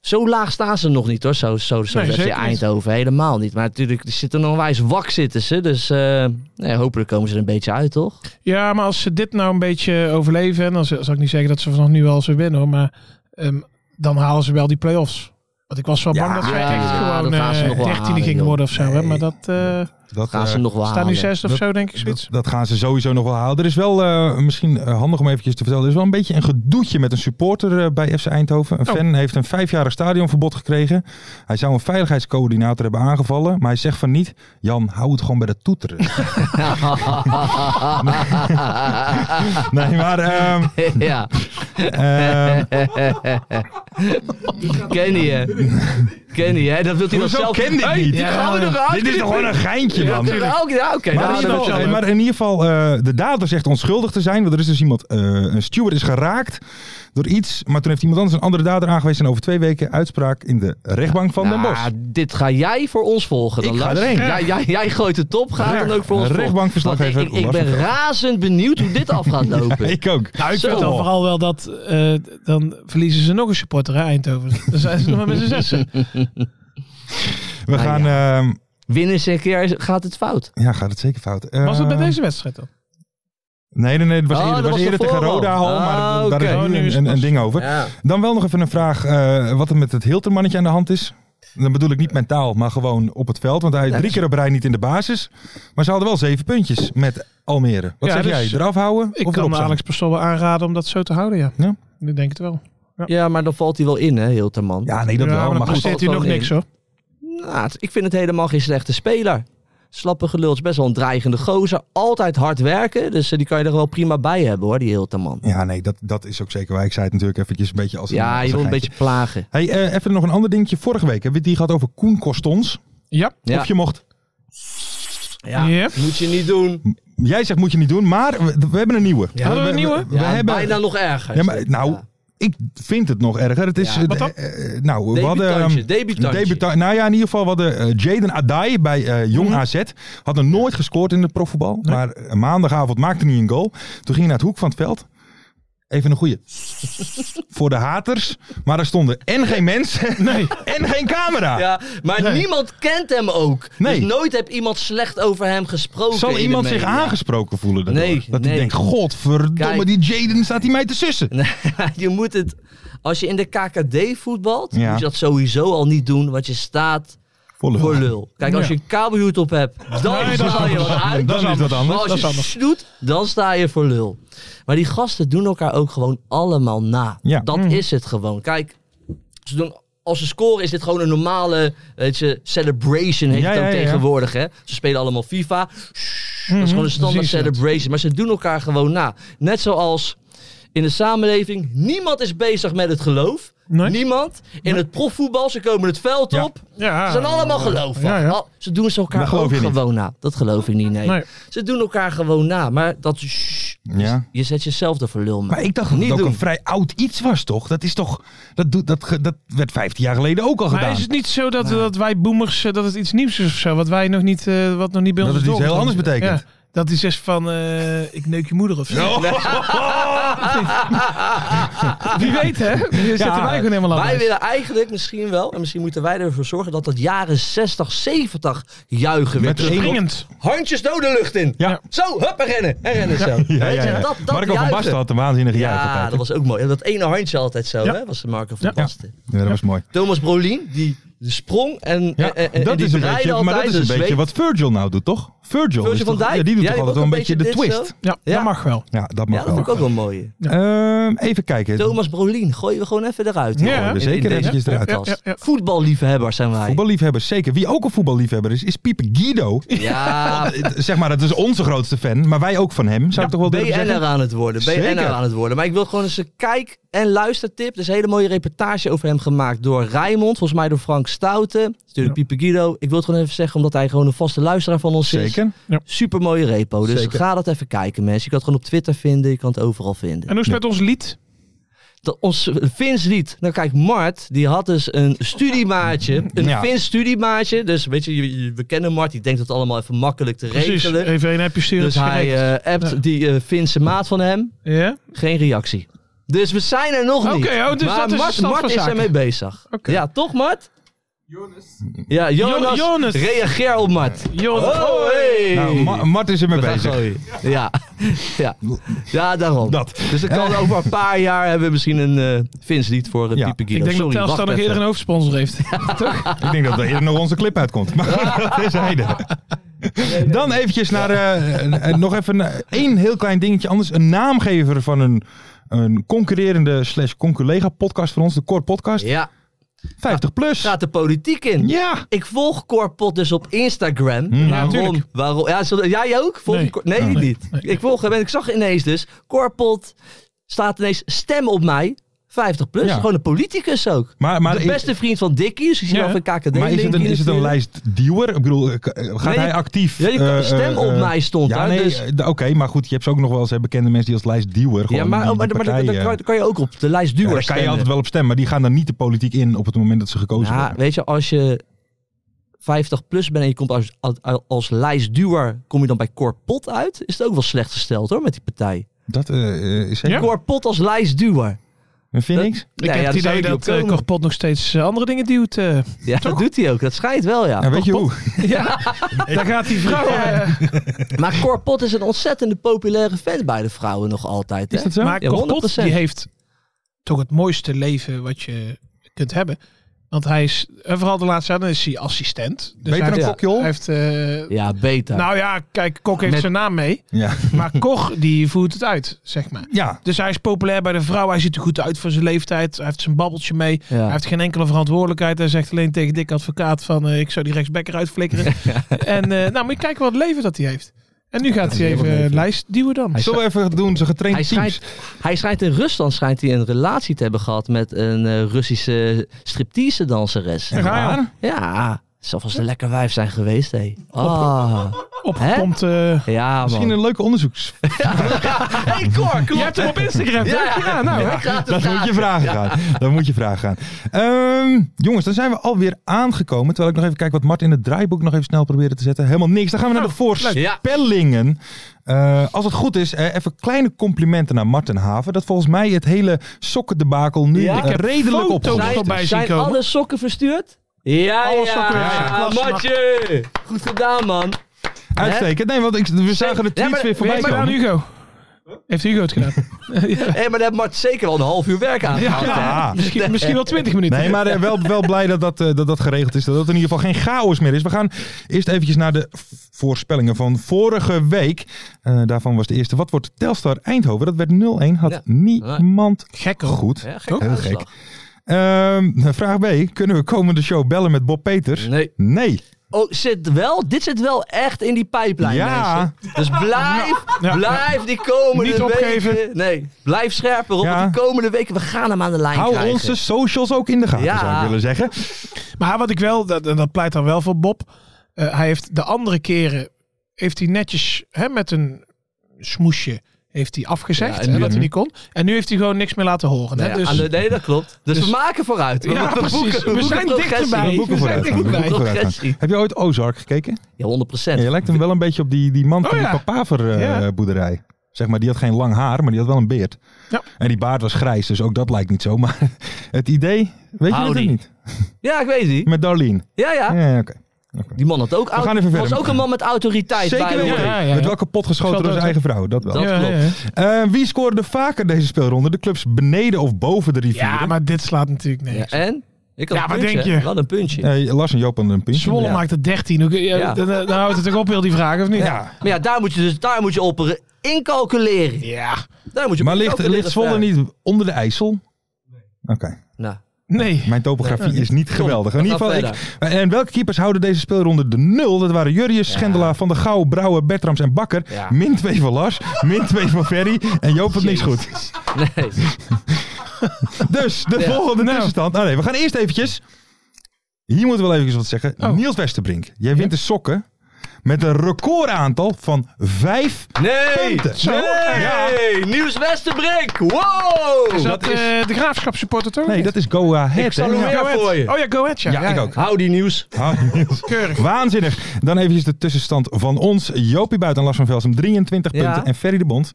zo laag staan ze nog niet hoor. Zo, zo, zo
Nee,
FC
zeker niet.
Eindhoven helemaal niet. Maar natuurlijk, er zitten nog een wijs wak zitten ze. Dus eh, nou ja, hopelijk komen ze er een beetje uit, toch?
Ja, maar als ze dit nou een beetje overleven, en dan zal zal ik niet zeggen dat ze vanaf nu al ze winnen hoor, maar ehm, dan halen ze wel die play-offs. Want ik was wel bang
Ja,
dat ze
ja,
echt
dat
gewoon
gaan ze nog
eh
wel
13
halen,
gingen
joh.
worden of zo. Hè? Maar dat eh
Dat
Gaan ze
eh,
nog wel
staan nu
halen.
zesde of
Dat-
zo, denk ik zoiets.
Dat, dat gaan ze sowieso nog wel halen. Er is wel eh, misschien eh, handig om eventjes te vertellen. Er is wel een beetje een gedoetje met een supporter eh, bij FC Eindhoven. Een
Oh.
fan heeft een vijfjarig stadionverbod gekregen. Hij zou een veiligheidscoördinator hebben aangevallen. Maar hij zegt van niet. Jan, hou het gewoon bij de toeteren. nee, maar... ehm,
ja.
ehm,
Kenny, hè? Kenny, hè? Dat wilt hij dan
Hoezo
zelf...
ken dit
Hey,
niet?
die
Ja,
gaan we
ja.
eruit
Dit is toch gewoon een geintje,
Ja,
man.
tuurlijk. Ook, ja, oké.
Maar,
nou, dat
in ieder
is
geval,
wel-
maar in ieder geval, eh, de dader zegt onschuldig te zijn. Want er is dus iemand, eh, een steward is geraakt door iets. Maar toen heeft iemand anders een andere dader aangewezen. En over twee weken uitspraak in de rechtbank van Den Bosch.
Nou, dit ga jij voor ons volgen. Dan
Ik ga
Lars.
erheen.
Jij, jij, jij gooit de top, gaat
Recht-
dan ook voor ons
rechtbankverslaggever
volgen. Want Ik, ik, ik
Lars
ben
van Velden.
razend benieuwd hoe dit af gaat lopen.
Ik ook.
Nou, ik
Zo.
vind dan vooral wel dat eh, dan verliezen ze nog een supporter hè, Eindhoven. Dan zijn ze nog maar met z'n zessen.
We gaan... ehm,
Winnen ze een keer, gaat het fout.
ja, gaat het zeker fout. Eh,
Was dat bij deze wedstrijd dan?
Nee, nee, nee. Het was
Oh,
eerder,
dat
was
was
eerder tegen
ervoor al.
Roda al. maar
Ah,
daar
oké.
is
Oh, nu
nu een,
is het
een,
pas.
een ding over.
Ja.
Dan wel nog even een vraag eh, wat er met het Hiltermannetje aan de hand is. Dan bedoel ik niet mentaal, maar gewoon op het veld. Want hij
dus-
drie keer op rij niet in de basis. Maar ze hadden wel zeven puntjes met Almere. Wat
Ja,
zeg
dus
jij? Eraf houden
Ik
of
kan
erop
me
zijn?
Alex Persoon wel aanraden om dat zo te houden, ja.
Ja.
Ik denk het wel.
Ja, maar dan valt hij wel in, hè, Hilterman.
Ja, nee, dat
ja,
wel.
maar dan
Maar goed,
presteert hij
Valt
nog
wel
niks
in.
hoor.
Nou, het- ik vind het helemaal geen slechte speler. Slappe gelul is best wel een dreigende gozer. Altijd hard werken, dus eh, die kan je er wel prima bij hebben hoor, die Hilterman.
ja, nee, dat, dat is ook zeker waar. Ik zei het natuurlijk eventjes een beetje als een-
Ja,
als
je wil een
geintje.
beetje plagen.
Hey, eh, even nog een ander dingetje. Vorige week hebben we het die gehad over Koen Kostons.
Ja.
Ja.
Of je mocht...
Ja,
Ja.
moet je niet doen.
Jij zegt moet je niet doen, maar we, we hebben een nieuwe.
Ja. Hadden
we een nieuwe?
We, we
Ja,
hebben...
Bijna nog erger.
Ja,
is
maar,
dit.
nou,
Ja.
ik vind het nog erger. Het is,
Ja.
eh,
Wat dan?
eh, nou, we
Debutantje,
hadden, ehm,
debutantje.
debuta- nou ja, in ieder geval we hadden eh, Jaden Adai bij eh, Jong
Mhm.
AZ. Had nog nooit gescoord in het profvoetbal. Maar eh, maandagavond maakte hij een goal. Toen ging hij naar het hoek van het veld. Even een goeie. Voor de haters. Maar daar stonden en geen mensen. en geen camera.
Ja, maar niemand kent hem ook.
Nee.
Dus nooit heb iemand slecht over hem gesproken.
Zal
in de
iemand zich
media.
aangesproken voelen daardoor?
Nee,
dat
nee.
hij denkt, godverdomme,
Kijk.
die Jaden staat hij mij te sussen.
je moet het. Als je in de KKD voetbalt,
Ja.
moet je dat sowieso al niet doen, want je staat
Volle
voor lul. Kijk, als je een kabelhoed op hebt, dan
Nee, dat is
sta je
anders.
wat uit.
Dan is dat anders.
Maar als
Dat
je snoet, dan sta je voor lul. Maar die gasten doen elkaar ook gewoon allemaal na.
Ja. Mhm.
Dat is het gewoon. Kijk, ze doen. Als ze scoren is dit gewoon een normale weet je, celebration, heet
Ja,
het dan
ja, ja, ja.
tegenwoordig. Hè? Ze spelen allemaal FIFA. Dat is gewoon
Mhm.
een standaard
precies, ja.
celebration. Maar ze doen elkaar gewoon na. Net zoals in de samenleving. Niemand is bezig met het geloof. Niemand. In het profvoetbal, ze komen het veld op.
Ja.
Ze
Ah.
zijn allemaal gelovig.
Ja, ja.
Al- Ze doen ze elkaar
Dat geloof
ook
je niet.
gewoon na. Dat geloof ik niet, nee.
Nee.
Ze doen elkaar gewoon na. Maar dat is... shh,
Ja.
Je zet jezelf er voor lul mee.
Maar ik dacht dat
niet
het ook
doen.
een vrij oud iets was, toch? Dat is toch. Dat, doet- dat, ge- dat werd 15 jaar geleden ook al
maar
gedaan.
is het niet zo dat, dat wij boomers, eh, dat het iets nieuws is of zo? Wat wij nog niet, eh, wat nog niet bij
Dat
ons
het
is
iets heel
doorgedrongen?
anders betekent.
Ja. Dat is zegt van, eh, ik neuk je moeder of zo.
Oh.
Wie weet hè? Hier zitten wij gewoon helemaal
Wij
anders.
willen eigenlijk misschien wel, en misschien moeten wij ervoor zorgen dat dat jaren 60, 70 juichen weer
Met
terugkomt.
springend.
Handjes nou de lucht in.
Ja.
Zo, hup, en rennen. En rennen zo.
Ja,
Weet
ja,
je,
ja.
Dat, dat
Marco van
juichen.
Basten had een waanzinnige juich
Ja,
altijd, hè?
dat was ook mooi. En dat ene handje altijd zo,
Ja.
hè, was de Marco van Basten.
Ja, dat was mooi.
Thomas Brolin, die sprong en,
Ja,
en, en- en
dat
eh, die
is een
draaide
beetje, maar
altijd
dat is een
zweep.
beetje wat Virgil nou doet, toch? Virgil,
Virgil
is
van
toch-
Dijk?
ja, die doet
Ja,
toch
die
altijd
ook
wel een
een
beetje de
beetje dit
twist.
zo. Ja, dat mag wel.
Ja, dat mag
Ja, dat vind ik ook wel mooi.
Ehm, even kijken.
Thomas Brolin, gooien we gewoon even eruit.
Ja,
hoor, in- in
zeker
deze
eventjes eruit.
podcast.
Ja, ja,
Voetballiefhebbers zijn wij.
Voetballiefhebbers, zeker. Wie ook een voetballiefhebber is, is Piepe Guido.
Ja.
zeg maar, dat is onze grootste fan, maar wij ook van hem, zou ik toch wel durven
BN'er
zeggen?
aan het worden. BN'er
Zeker.
aan het worden. Maar ik wil gewoon eens een kijk- en luistertip. Er is een hele mooie reportage over hem gemaakt door Rijmond. Volgens mij door Frank Stouten. Dat is Natuurlijk Piepe Guido. Ik wil het gewoon even zeggen, omdat hij gewoon een vaste luisteraar van ons is.
Zeker.
Super mooie repo. Dus
Zeker.
ga dat even kijken, mensen. Je kan het gewoon op Twitter vinden. Je kan het overal vinden.
En hoe is het met ons lied?
Dat ons Vins lied. Nou kijk, Mart, die had dus een studiemaatje. Een
Ja.
Vins studiemaatje. Dus weet je, je- je- we kennen Mart. Die denkt dat allemaal even makkelijk te
Precies,
regelen.
even een appje sturen,
Dus
het is
hij
geregeld.
eh, appt
Ja.
die eh Finse maat van hem. Geen reactie. Dus we zijn er nog niet.
Oké, oh, dus
maar
dat is de
Mart,
stand
Mart
van
is
zaken.
ermee bezig. Ja, toch Mart? Jonas. Ja, Jonas.
Jo- Jonas.
Reageer op Mart.
Jonas.
Oh, hey.
Nou, Ma- Mart is ermee
We gaan
bezig.
gooien. Ja. ja. Ja, daarom. Dat. Dus dan
Eh.
kan over een paar jaar hebben we misschien een eh Fins lied voor een type Guido.
Ik denk dat
Sorry,
Telstar
wacht
nog eerder
even.
een hoofdsponsor heeft. Toch?
Ik denk dat er eerder nog onze clip uitkomt. Maar dat is heide. Dan eventjes naar eh, een- een- nog even een- één heel klein dingetje anders. Een naamgever van een, een concurrerende slash conculega podcast van ons, de Core Podcast.
Ja.
50 plus.
Gaat de politiek in.
Ja. Hm.
Ik volg Corpot dus op Instagram. waarom?
tuurlijk.
waarom ja, zullen- jij ook? Volg je Cor- nee,
Ah.
ik
Nee,
niet. Ik volg hem en ik zag ineens dus. Corpot staat ineens stem op mij. 50 plus.
Ja.
Gewoon een politicus ook.
Maar, maar
de
is-
beste vriend van Dickie. Dus ik zie
Ja.
wel van KKD.
Maar is het een, is het een lijst duwer? Ik bedoel, eh, k- eh, gaat
Nee,
hij actief?
ja, je kan-
eh,
stem
eh,
op
eh,
mij stond
Ja,
daar,
nee,
dus-
eh, d- oké, maar goed, je hebt ze ook nog wel eens hè, bekende mensen die als lijst duwer.
Ja,
gewoon
maar, oh, maar,
die- die
maar daar-
partij,
daar
eh,
kan, kan je ook op de lijst duur
ja, daar kan je altijd wel op stemmen, maar die gaan dan niet de politiek in op het moment dat ze gekozen
Ja,
worden.
weet je, als je 50 plus bent en je komt als, als, als lijstduwer, kom je dan bij Corpot uit? Is het ook wel slecht gesteld hoor, met die partij.
Dat eh, eh, is zeker.
Corpot als lijstduwer.
Een Phoenix?
Ik heb het idee dat eh, Corpot nog steeds eh, andere dingen duwt. eh.
Ja, dat doet hij ook. Dat schijnt wel, ja.
Ja,
weet je hoe?
Daar gaat die vrouw. eh,
Maar Corpot is een ontzettende populaire vent bij de vrouwen nog altijd. Hè?
Is dat zo? Maar
Ja,
Corpot
100%.
die heeft toch het mooiste leven wat je kunt hebben. Want hij is, en vooral de laatste jaren is hij assistent. Dus
Beter
hij
dan
heeft-
Kok, joh?
Hij heeft, eh,
Ja, beter.
nou ja, kijk, Kok heeft
Met-
zijn naam mee.
Ja.
Maar Koch, die voert het uit, zeg maar.
Ja.
Dus hij is populair bij de vrouw. Hij ziet er goed uit voor zijn leeftijd. Hij heeft zijn babbeltje mee.
Ja.
Hij heeft geen enkele verantwoordelijkheid. Hij zegt alleen tegen dik advocaat van... eh, ik zou die rechtsbekker uitflikkeren. en eh, nou, moet je kijken wat leven dat hij heeft. En nu gaat hij even eh, lijst duwen dan.
Zullen we even doen, ze getraind
Hij
teams.
schijnt, hij schijnt in Rusland schijnt hij een relatie te hebben gehad met een eh, Russische striptease danseres.
Echt waar?
Ja, zal vast een lekker wijf zijn geweest, hé. Ah.
Opgepompt. eh,
Ja, man.
Misschien een leuke onderzoeks.
Hey, Cor, klopt.
Je hebt hem op Instagram,
Ja,
toch? Ja, nou.
Ik ga het
Dat moet je
vragen.
vragen gaan. Dat moet je vragen gaan. Ehm, jongens, dan zijn we alweer aangekomen. Terwijl ik nog even kijk wat Mart in het draaiboek nog even snel proberen te zetten. Helemaal niks. Dan gaan
Oh,
we naar de voorspellingen. Eh, als het goed is, eh, even kleine complimenten naar Martin Haven. Dat volgens mij het hele sokkendebakel nu
Ja.
eh,
Ik heb
redelijk op
foto's voorbij
Zijn,
zien
zijn
komen.
alle sokken verstuurd? Ja,
Alle
ja.
sokken
ja,
verstuurd.
ja.
Klasse,
Matje. Goed gedaan, man.
Uitstekend. Nee, want ik, we zagen de tweets
maar-
weer voorbij
nee,
Maar aan
komen.
Hugo. Heeft Hugo het gedaan?
Hé, maar daar heeft Mart zeker wel een half uur werk aan gehad.
Ja.
Misschien, misschien wel 20 minuten.
Nee, maar eh, wel, wel blij dat dat, eh, dat dat geregeld is. Dat het in ieder geval geen chaos meer is. We gaan eerst eventjes naar de v- voorspellingen van vorige week. Eh, daarvan was de eerste. Wat wordt Telstar Eindhoven? Dat werd 0-1. Had
Ja.
niemand
Gek hoor.
goed.
Ja, gek
Toch? Heel
uitslag.
gek. Ehm, vraag B. Kunnen we komende show bellen met Bob Peters?
Nee.
Nee.
oh, zit wel, dit zit wel echt in die pijplijn,
Ja.
mensen. Dus blijf, blijf die komende
Niet opgeven.
weken... Nee, blijf scherp erop.
Ja.
want Die komende weken, we gaan hem aan de lijn
Hou
krijgen.
onze socials ook in de gaten,
Ja.
zou ik willen zeggen.
Maar wat ik wel, dat, dat pleit dan wel voor Bob. eh, hij heeft de andere keren, heeft hij netjes hè, met een smoesje, heeft hij afgezegd
Ja, en
hè,
nu- Nou
dat hij niet kon. En nu heeft hij gewoon niks meer laten horen.
Nee,
Hè, dus,
aan de- nee, dat klopt. Dus,
dus-
we maken vooruit. We,
Ja,
we
precies.
boeken-
We
boeken
zijn
progressie.
dichterbij.
We
We
boeken
zijn
vooruit.
dichterbij.
We boeken
Vooruitgang.
progressie.
Heb je ooit Ozark gekeken?
Ja, 100 procent.
je lijkt hem wel een beetje op die, die man van
Oh, ja.
die
Ja.
papaver-boerderij. Zeg maar, die had geen lang haar, maar die had wel een beard.
Ja.
En die baard was grijs, dus ook dat lijkt niet zo. Maar het idee, weet je dat
Howdy.
ook niet?
Ja, ik weet die.
Met Darlene.
Ja, ja.
Ja, oké.
Die man had ook
We gaan even
auto- was
verder.
ook een man met autoriteit.
Zeker
bij
weten.
hoor.
Werd wel kapot geschoten
Zal
door
dood, hè?
zijn eigen vrouw, dat wel.
Dat Ja, klopt. ja,
Eh, wie scoorde vaker deze speelronde? De clubs beneden of boven de rivieren?
ja, maar dit slaat natuurlijk niks.
Ja, en? Ik had
Ja,
een
wat
puntje.
denk je?
Wat een puntje.
Eh, Lars en Joop hadden een puntje.
Zwolle
Ja.
maakt het 13. Hoe kun je-
Ja.
dan, dan houdt het toch op, heel die vraag, of niet?
Ja.
Maar ja, daar moet je, dus, daar moet je op re- incalculeren.
Ja.
Daar moet je op
Maar ligt,
incalculeren
ligt Zwolle
staan.
niet onder de IJssel? Oké.
Nou,
Nee.
Mijn topografie
Nee.
is niet
Kom,
geweldig.
we
In ieder
gaan
geval, ik, en welke keepers houden deze speelronde de nul? Dat waren Jurrius, Schendelaar, Van der Gouw, Brouwer, Bertrams en Bakker.
Ja.
Min 2 van Lars, min 2 van Ferry. En Joop had niks goed.
nee.
Dus de volgende tussenstand. Nou nee, we gaan eerst eventjes. Hier moeten we wel even wat zeggen. Niels Westerbrink, jij wint de sokken met een recordaantal van vijf
Oh, Nee!
punten.
Nee! Nieuws Westerbrink! Wow!
Is dat,
dat is-
eh, de graafschap supporter toch?
Nee, dat is Go Ahead.
Ik
hè?
salueer
Ja.
voor je.
Oh ja, go ahead, ja.
Ja, ik ook.
Hou die nieuws.
Ah, Niels.
Keurig.
Waanzinnig. Dan eventjes de tussenstand van ons. Jopie Buiten en Lars van Velsen 23
Ja.
punten. En Ferry de Bond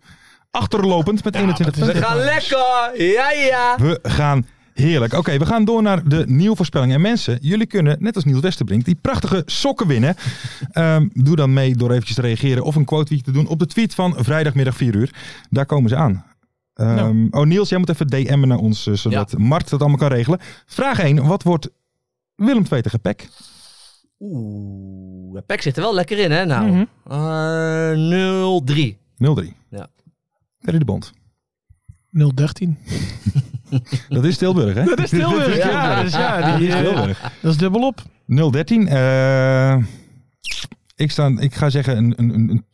achterlopend met 21
We
punten.
gaan lekker! Ja, ja!
We gaan heerlijk. Oké, we gaan door naar de nieuwe voorspellingen. En mensen, jullie kunnen, net als Niels Westerbrink, die prachtige sokken winnen. Ehm, doe dan mee door eventjes te reageren of een quote te doen op de tweet van vrijdagmiddag 4 uur. Daar komen ze aan. Ehm, Oh Niels, jij moet even DM'en naar ons, eh, zodat Mart dat allemaal kan regelen. Vraag 1, wat wordt Willem 2 tegen Peck?
Oeh, Peck zit er wel lekker in, hè? Nou,
Mhm.
eh, 0-3.
0-3.
Ja.
Ferry de Bond.
013.
Dat is Tilburg, hè?
Dat is Tilburg,
Ja.
ja. Dus ja, die,
Dat is
eh,
Tilburg.
dat is dubbelop.
013. eh, ik, sta, ik ga zeggen een, een, een- een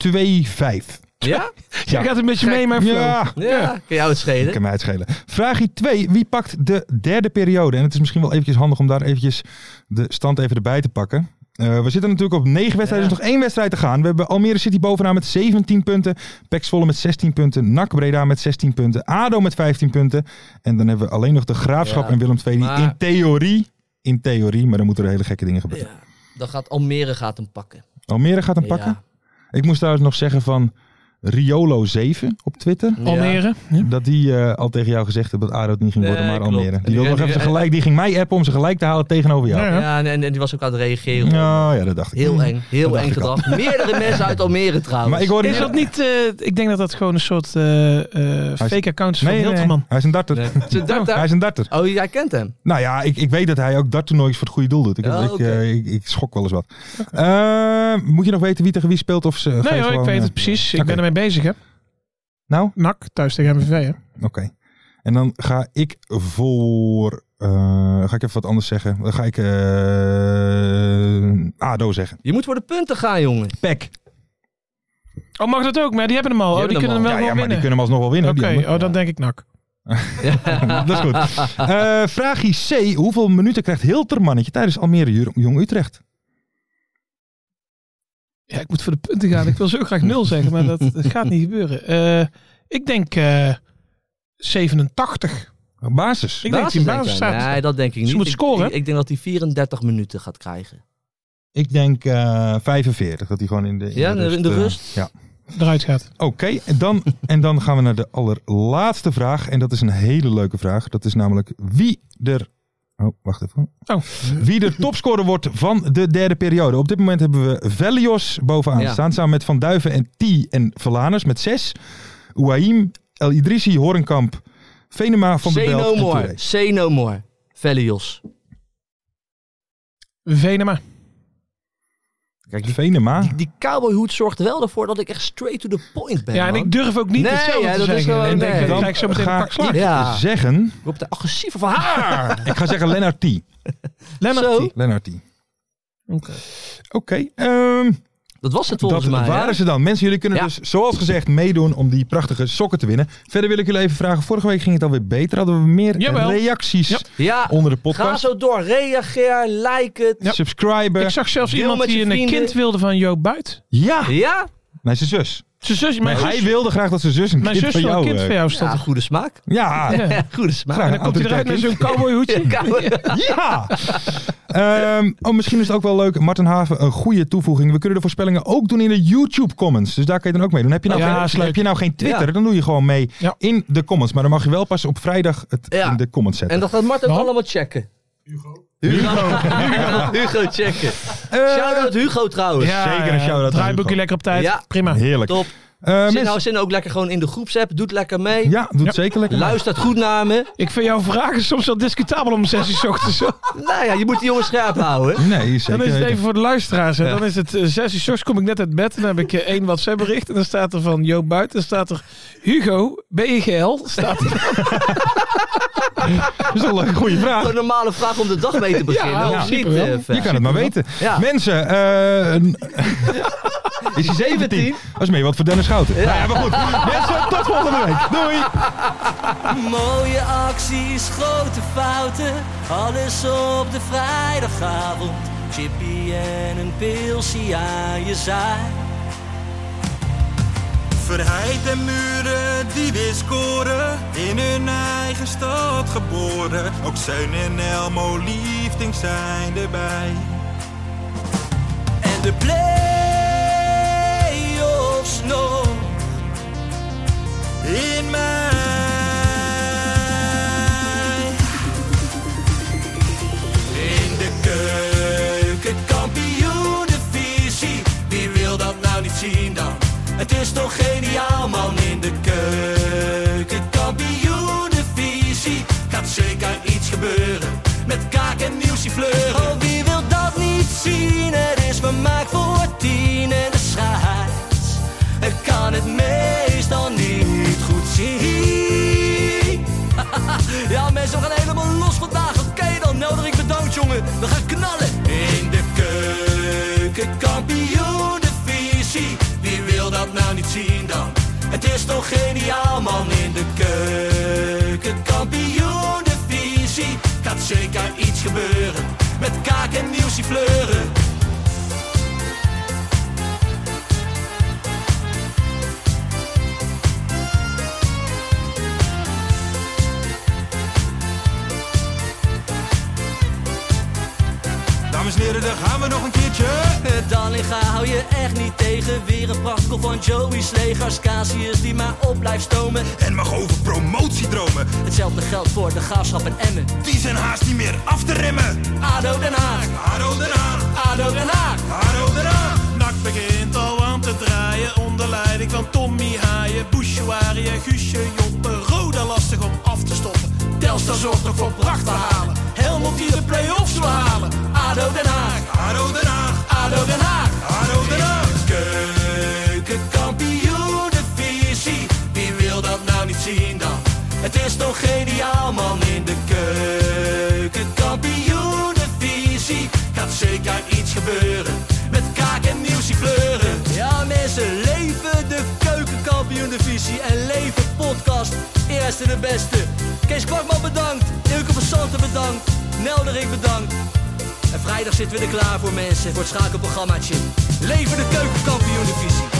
2-5.
Ja?
Jij gaat een beetje
Gek.
mee in mijn flow.
Ja,
Ja, kan jou het
ik
schelen.
kan mij het schelen. Vraagje 2. Wie pakt de derde periode? En het is misschien wel eventjes handig om daar eventjes de stand even erbij te pakken. Eh, we zitten natuurlijk op negen wedstrijden. Er is nog één wedstrijd te gaan. We hebben Almere City bovenaan met 17 punten. PEC Zwolle met 16 punten. NAC Breda met 16 punten. ADO met 15 punten. En dan hebben we alleen nog de Graafschap
Ja,
en Willem II. Die
maar-
in theorie, in theorie, maar dan moeten er hele gekke dingen gebeuren.
Ja. Dan gaat Almere gaat hem pakken.
Almere gaat hem pakken.
Ja.
Ik moest trouwens nog zeggen van Riolo7 op Twitter.
Almere.
Dat die eh, al tegen jou gezegd heeft dat Aro het niet ging worden,
Nee,
maar
klopt.
Almere. Die,
Die-
wilde nog
die-
even zijn gelijk, die ging mij appen om ze gelijk te halen tegenover jou.
Ja.
Ja, en, en die was ook aan het reageren.
Ja, ja, dat dacht ik.
Heel eng, heel
dacht
eng
ik al.
gedrag. Meerdere mensen uit Almere trouwens.
Maar ik hoorde
Is dat niet, eh, ik denk dat dat gewoon een soort eh, eh,
Hij is-
fake account is
Nee,
van
nee,
Hilterman.
hij is een darter.
Nee. Is het darter?
Hij is een darter.
Oh, jij kent hem.
Nou ja, ik, ik weet dat hij ook darttoernooien voor het goede doel doet. Ik, heb-
Ja,
ik,
oké.
eh, ik, ik schok wel eens wat. Eh, moet je nog weten wie tegen wie speelt? Of ze, ga je
Nee hoor, ik
gewoon,
weet
eh,
het precies. Ik
Oké.
ben ermee bezig, hè.
Nou,
NAC, thuis tegen MVV, hè.
oké. En dan ga ik voor... eh, ga ik even wat anders zeggen. Dan ga ik eh, ADO zeggen.
Je moet voor de punten gaan, jongen.
Pek.
Oh, mag dat ook? Maar die hebben hem al.
Die
oh, die
hebben
kunnen
hem
hem wel
Ja, ja,
gewoon
maar die
winnen.
kunnen hem alsnog wel winnen.
Oké,
die anderen.
oh, dan denk ik NAC.
Dat is goed. Eh vraagje C. Hoeveel minuten krijgt Hiltermannetje tijdens Almere Jong- Jong Utrecht?
Ja, ik moet voor de punten gaan. Ik wil zo graag nul zeggen, maar dat, dat gaat niet gebeuren. Eh, ik denk eh, 87.
Basis.
Ik denk
Basis,
die
denk
basis
jij?
staat.
Nee, dat denk ik niet.
moet
Ik-
scoren,
Ik,
hè?
ik denk dat hij 34 minuten gaat krijgen.
Ik denk eh, 45. Dat hij gewoon in de,
Ja, in de
eh,
rust.
ja.
eruit gaat.
Oké, en, dan, en dan gaan we naar de allerlaatste vraag. En dat is een hele leuke vraag. Dat is namelijk wie er... Oh, wacht even.
Oh.
Wie de topscorer wordt van de derde periode. Op dit moment hebben we Velios bovenaan
Ja.
staan. Samen met Van Duiven en T en Verlaners met zes. Ouaim, El Idrissi, Horenkamp, Venema, Van der
Say
Belt
no
en
more.
Touré.
Say no more. Velios.
Venema.
Kijk, die,
Venema.
die, die cowboyhoed zorgt wel ervoor dat ik echt straight to the point ben.
Ja, en
man.
ik durf ook niet
Nee,
hetzelfde
hè,
te
dat is
zeggen.
gewoon-
ik denk,
nee.
ik
Dan
krijg zo meteen een
ga
pak slaag.
ik
Ja.
zeggen...
Ik word de agressieve van haar.
Ik ga zeggen Lennart T.
Lennart,
Zo.
die-
Lennart T. Oké. ehm,
dat was het
dat
volgens mij.
waren
hè?
ze dan. Mensen, jullie kunnen
Ja.
dus zoals gezegd meedoen om die prachtige sokken te winnen. Verder wil ik jullie even vragen. Vorige week ging het alweer beter. Hadden we meer
Jawel.
reacties
Ja,
onder de podcast.
ga zo door. Reageer, like het.
Subscriben.
Ik zag zelfs
Deel
iemand
met je
die een
vrienden.
kind wilde van Joop Buit.
Ja.
Ja?
Nee, zijn zus.
Zijn zus, mijn
Maar
zus-
hij wilde graag dat zijn zus een
Mijn
kind
zus
van
wil een
jou
kind
eh,
van jou stond.
Ja, goede smaak.
Ja.
Ja.
Goede smaak.
Graag
En dan komt hij eruit met zo'n cowboyhoedje.
Ja! Ehm, oh, misschien is het ook wel leuk, Martin Haven, een goede toevoeging. We kunnen de voorspellingen ook doen in de YouTube comments. Dus daar kun je dan ook mee doen. Heb je nou,
Ja,
geen,
is leuk.
heb je nou geen Twitter,
Ja.
dan doe je gewoon mee in de comments. Maar dan mag je wel pas op vrijdag het
Ja.
in de comments zetten.
En dat gaat Marten
Nou.
allemaal checken. Hugo. Hugo. Hugo checken.
Eh,
Shout-out Hugo trouwens.
Ja,
Zeker een
ja,
shout-out aan
Draaiboekje
Hugo.
lekker op tijd.
Ja.
Prima.
Heerlijk.
Top.
Eh,
Zit
mensen-
nou zin ook lekker gewoon in de groepsapp. Doet lekker mee.
ja, doet zeker lekker.
Luistert goed naar me.
Ik vind jouw vragen soms wel discutabel om 6 uur 's ochtends. hoor.
Nou ja, je moet die jongen scherp houden.
Nee, zeker
Dan is het
weten.
even voor de luisteraars. hè.
Ja.
Dan is het eh, 6 uur 's ochtends, kom ik net uit bed. En dan heb ik eh, één WhatsApp bericht. En dan staat er van Joop Buiten. Dan staat er Hugo, BGL. Staat er.
Dat is wel een goede vraag.
Gewoon een normale vraag om de dag mee te beginnen.
Ja,
of
ja,
niet,
superwel.
eh, Fer?
Je kan het maar weten.
Ja.
Mensen, eh, een- is hij 17? Dat is meer wat voor Dennis Schouten. Nou Ja. maar goed. Mensen, tot volgende week. Doei!
Mooie acties, grote fouten, alles op de vrijdagavond. Chippy en een pilsie aan je zaai.
Verheid en muren die weer scoren, in hun eigen stad geboren. Ook Zeun en Elmo Liefding zijn erbij.
En de play-offs nog in mij. In de keuken, kampioen Wie wil dat nou niet zien dan? Het is toch geniaal man in de keuken, kampioen Gaat zeker iets gebeuren met kaak en nieuwsie fleuren. Oh, wie wil dat niet zien? Het is vermaakt voor tien en de scheids. Ik kan het meestal niet goed zien. Ja, mensen, we gaan helemaal los vandaag. Oké, dan nodig ik bedankt, jongen. We gaan knallen. In de keuken, kampioen, de visie. Wie wil dat nou niet zien dan? Het is toch geniaal, man. In de keuken, kampioen, de visie. Gaat zeker iets gebeuren. Met kaak en nieuwsie fleuren.
Dames en heren, daar gaan we nog een keertje.
Dallinga hou je echt niet tegen. Weer een prachtkel van Joey's legers. Casius die maar op blijft stomen.
En mag over promotiedromen,
Hetzelfde geldt voor de graafschap en Emmen.
die zijn haast niet meer af te remmen.
ADO Den Haag,
Haro eraan,
ADO Den Haag.
haro eraan.
Nak begint al aan te draaien onder leiding van Tommy Haaien, Bouchouari en Guusje Joppen. Roda lastig om af te stoppen.
Telstar zorgt nog voor pracht te halen. Helmond die de play-offs wil halen. ADO Den Haag,
Haro eraan,
ADO Den Haag.
haro eraan.
Keukenkampioenenvisie, wie wil dat nou niet zien dan? Het is toch geniaal man in de keukenkampioenenvisie. Gaat zeker iets gebeuren, met kaak en nieuwsie kleuren. Ja mensen, leven de keukenkampioenenvisie en leven podcast. Eerste de beste. Kees Kwakman bedankt, Ilke van Santen bedankt, Nelderik bedankt. En vrijdag zitten we er klaar voor mensen, voor het schakelprogrammaatje. Leven de keukenkampioen divisie.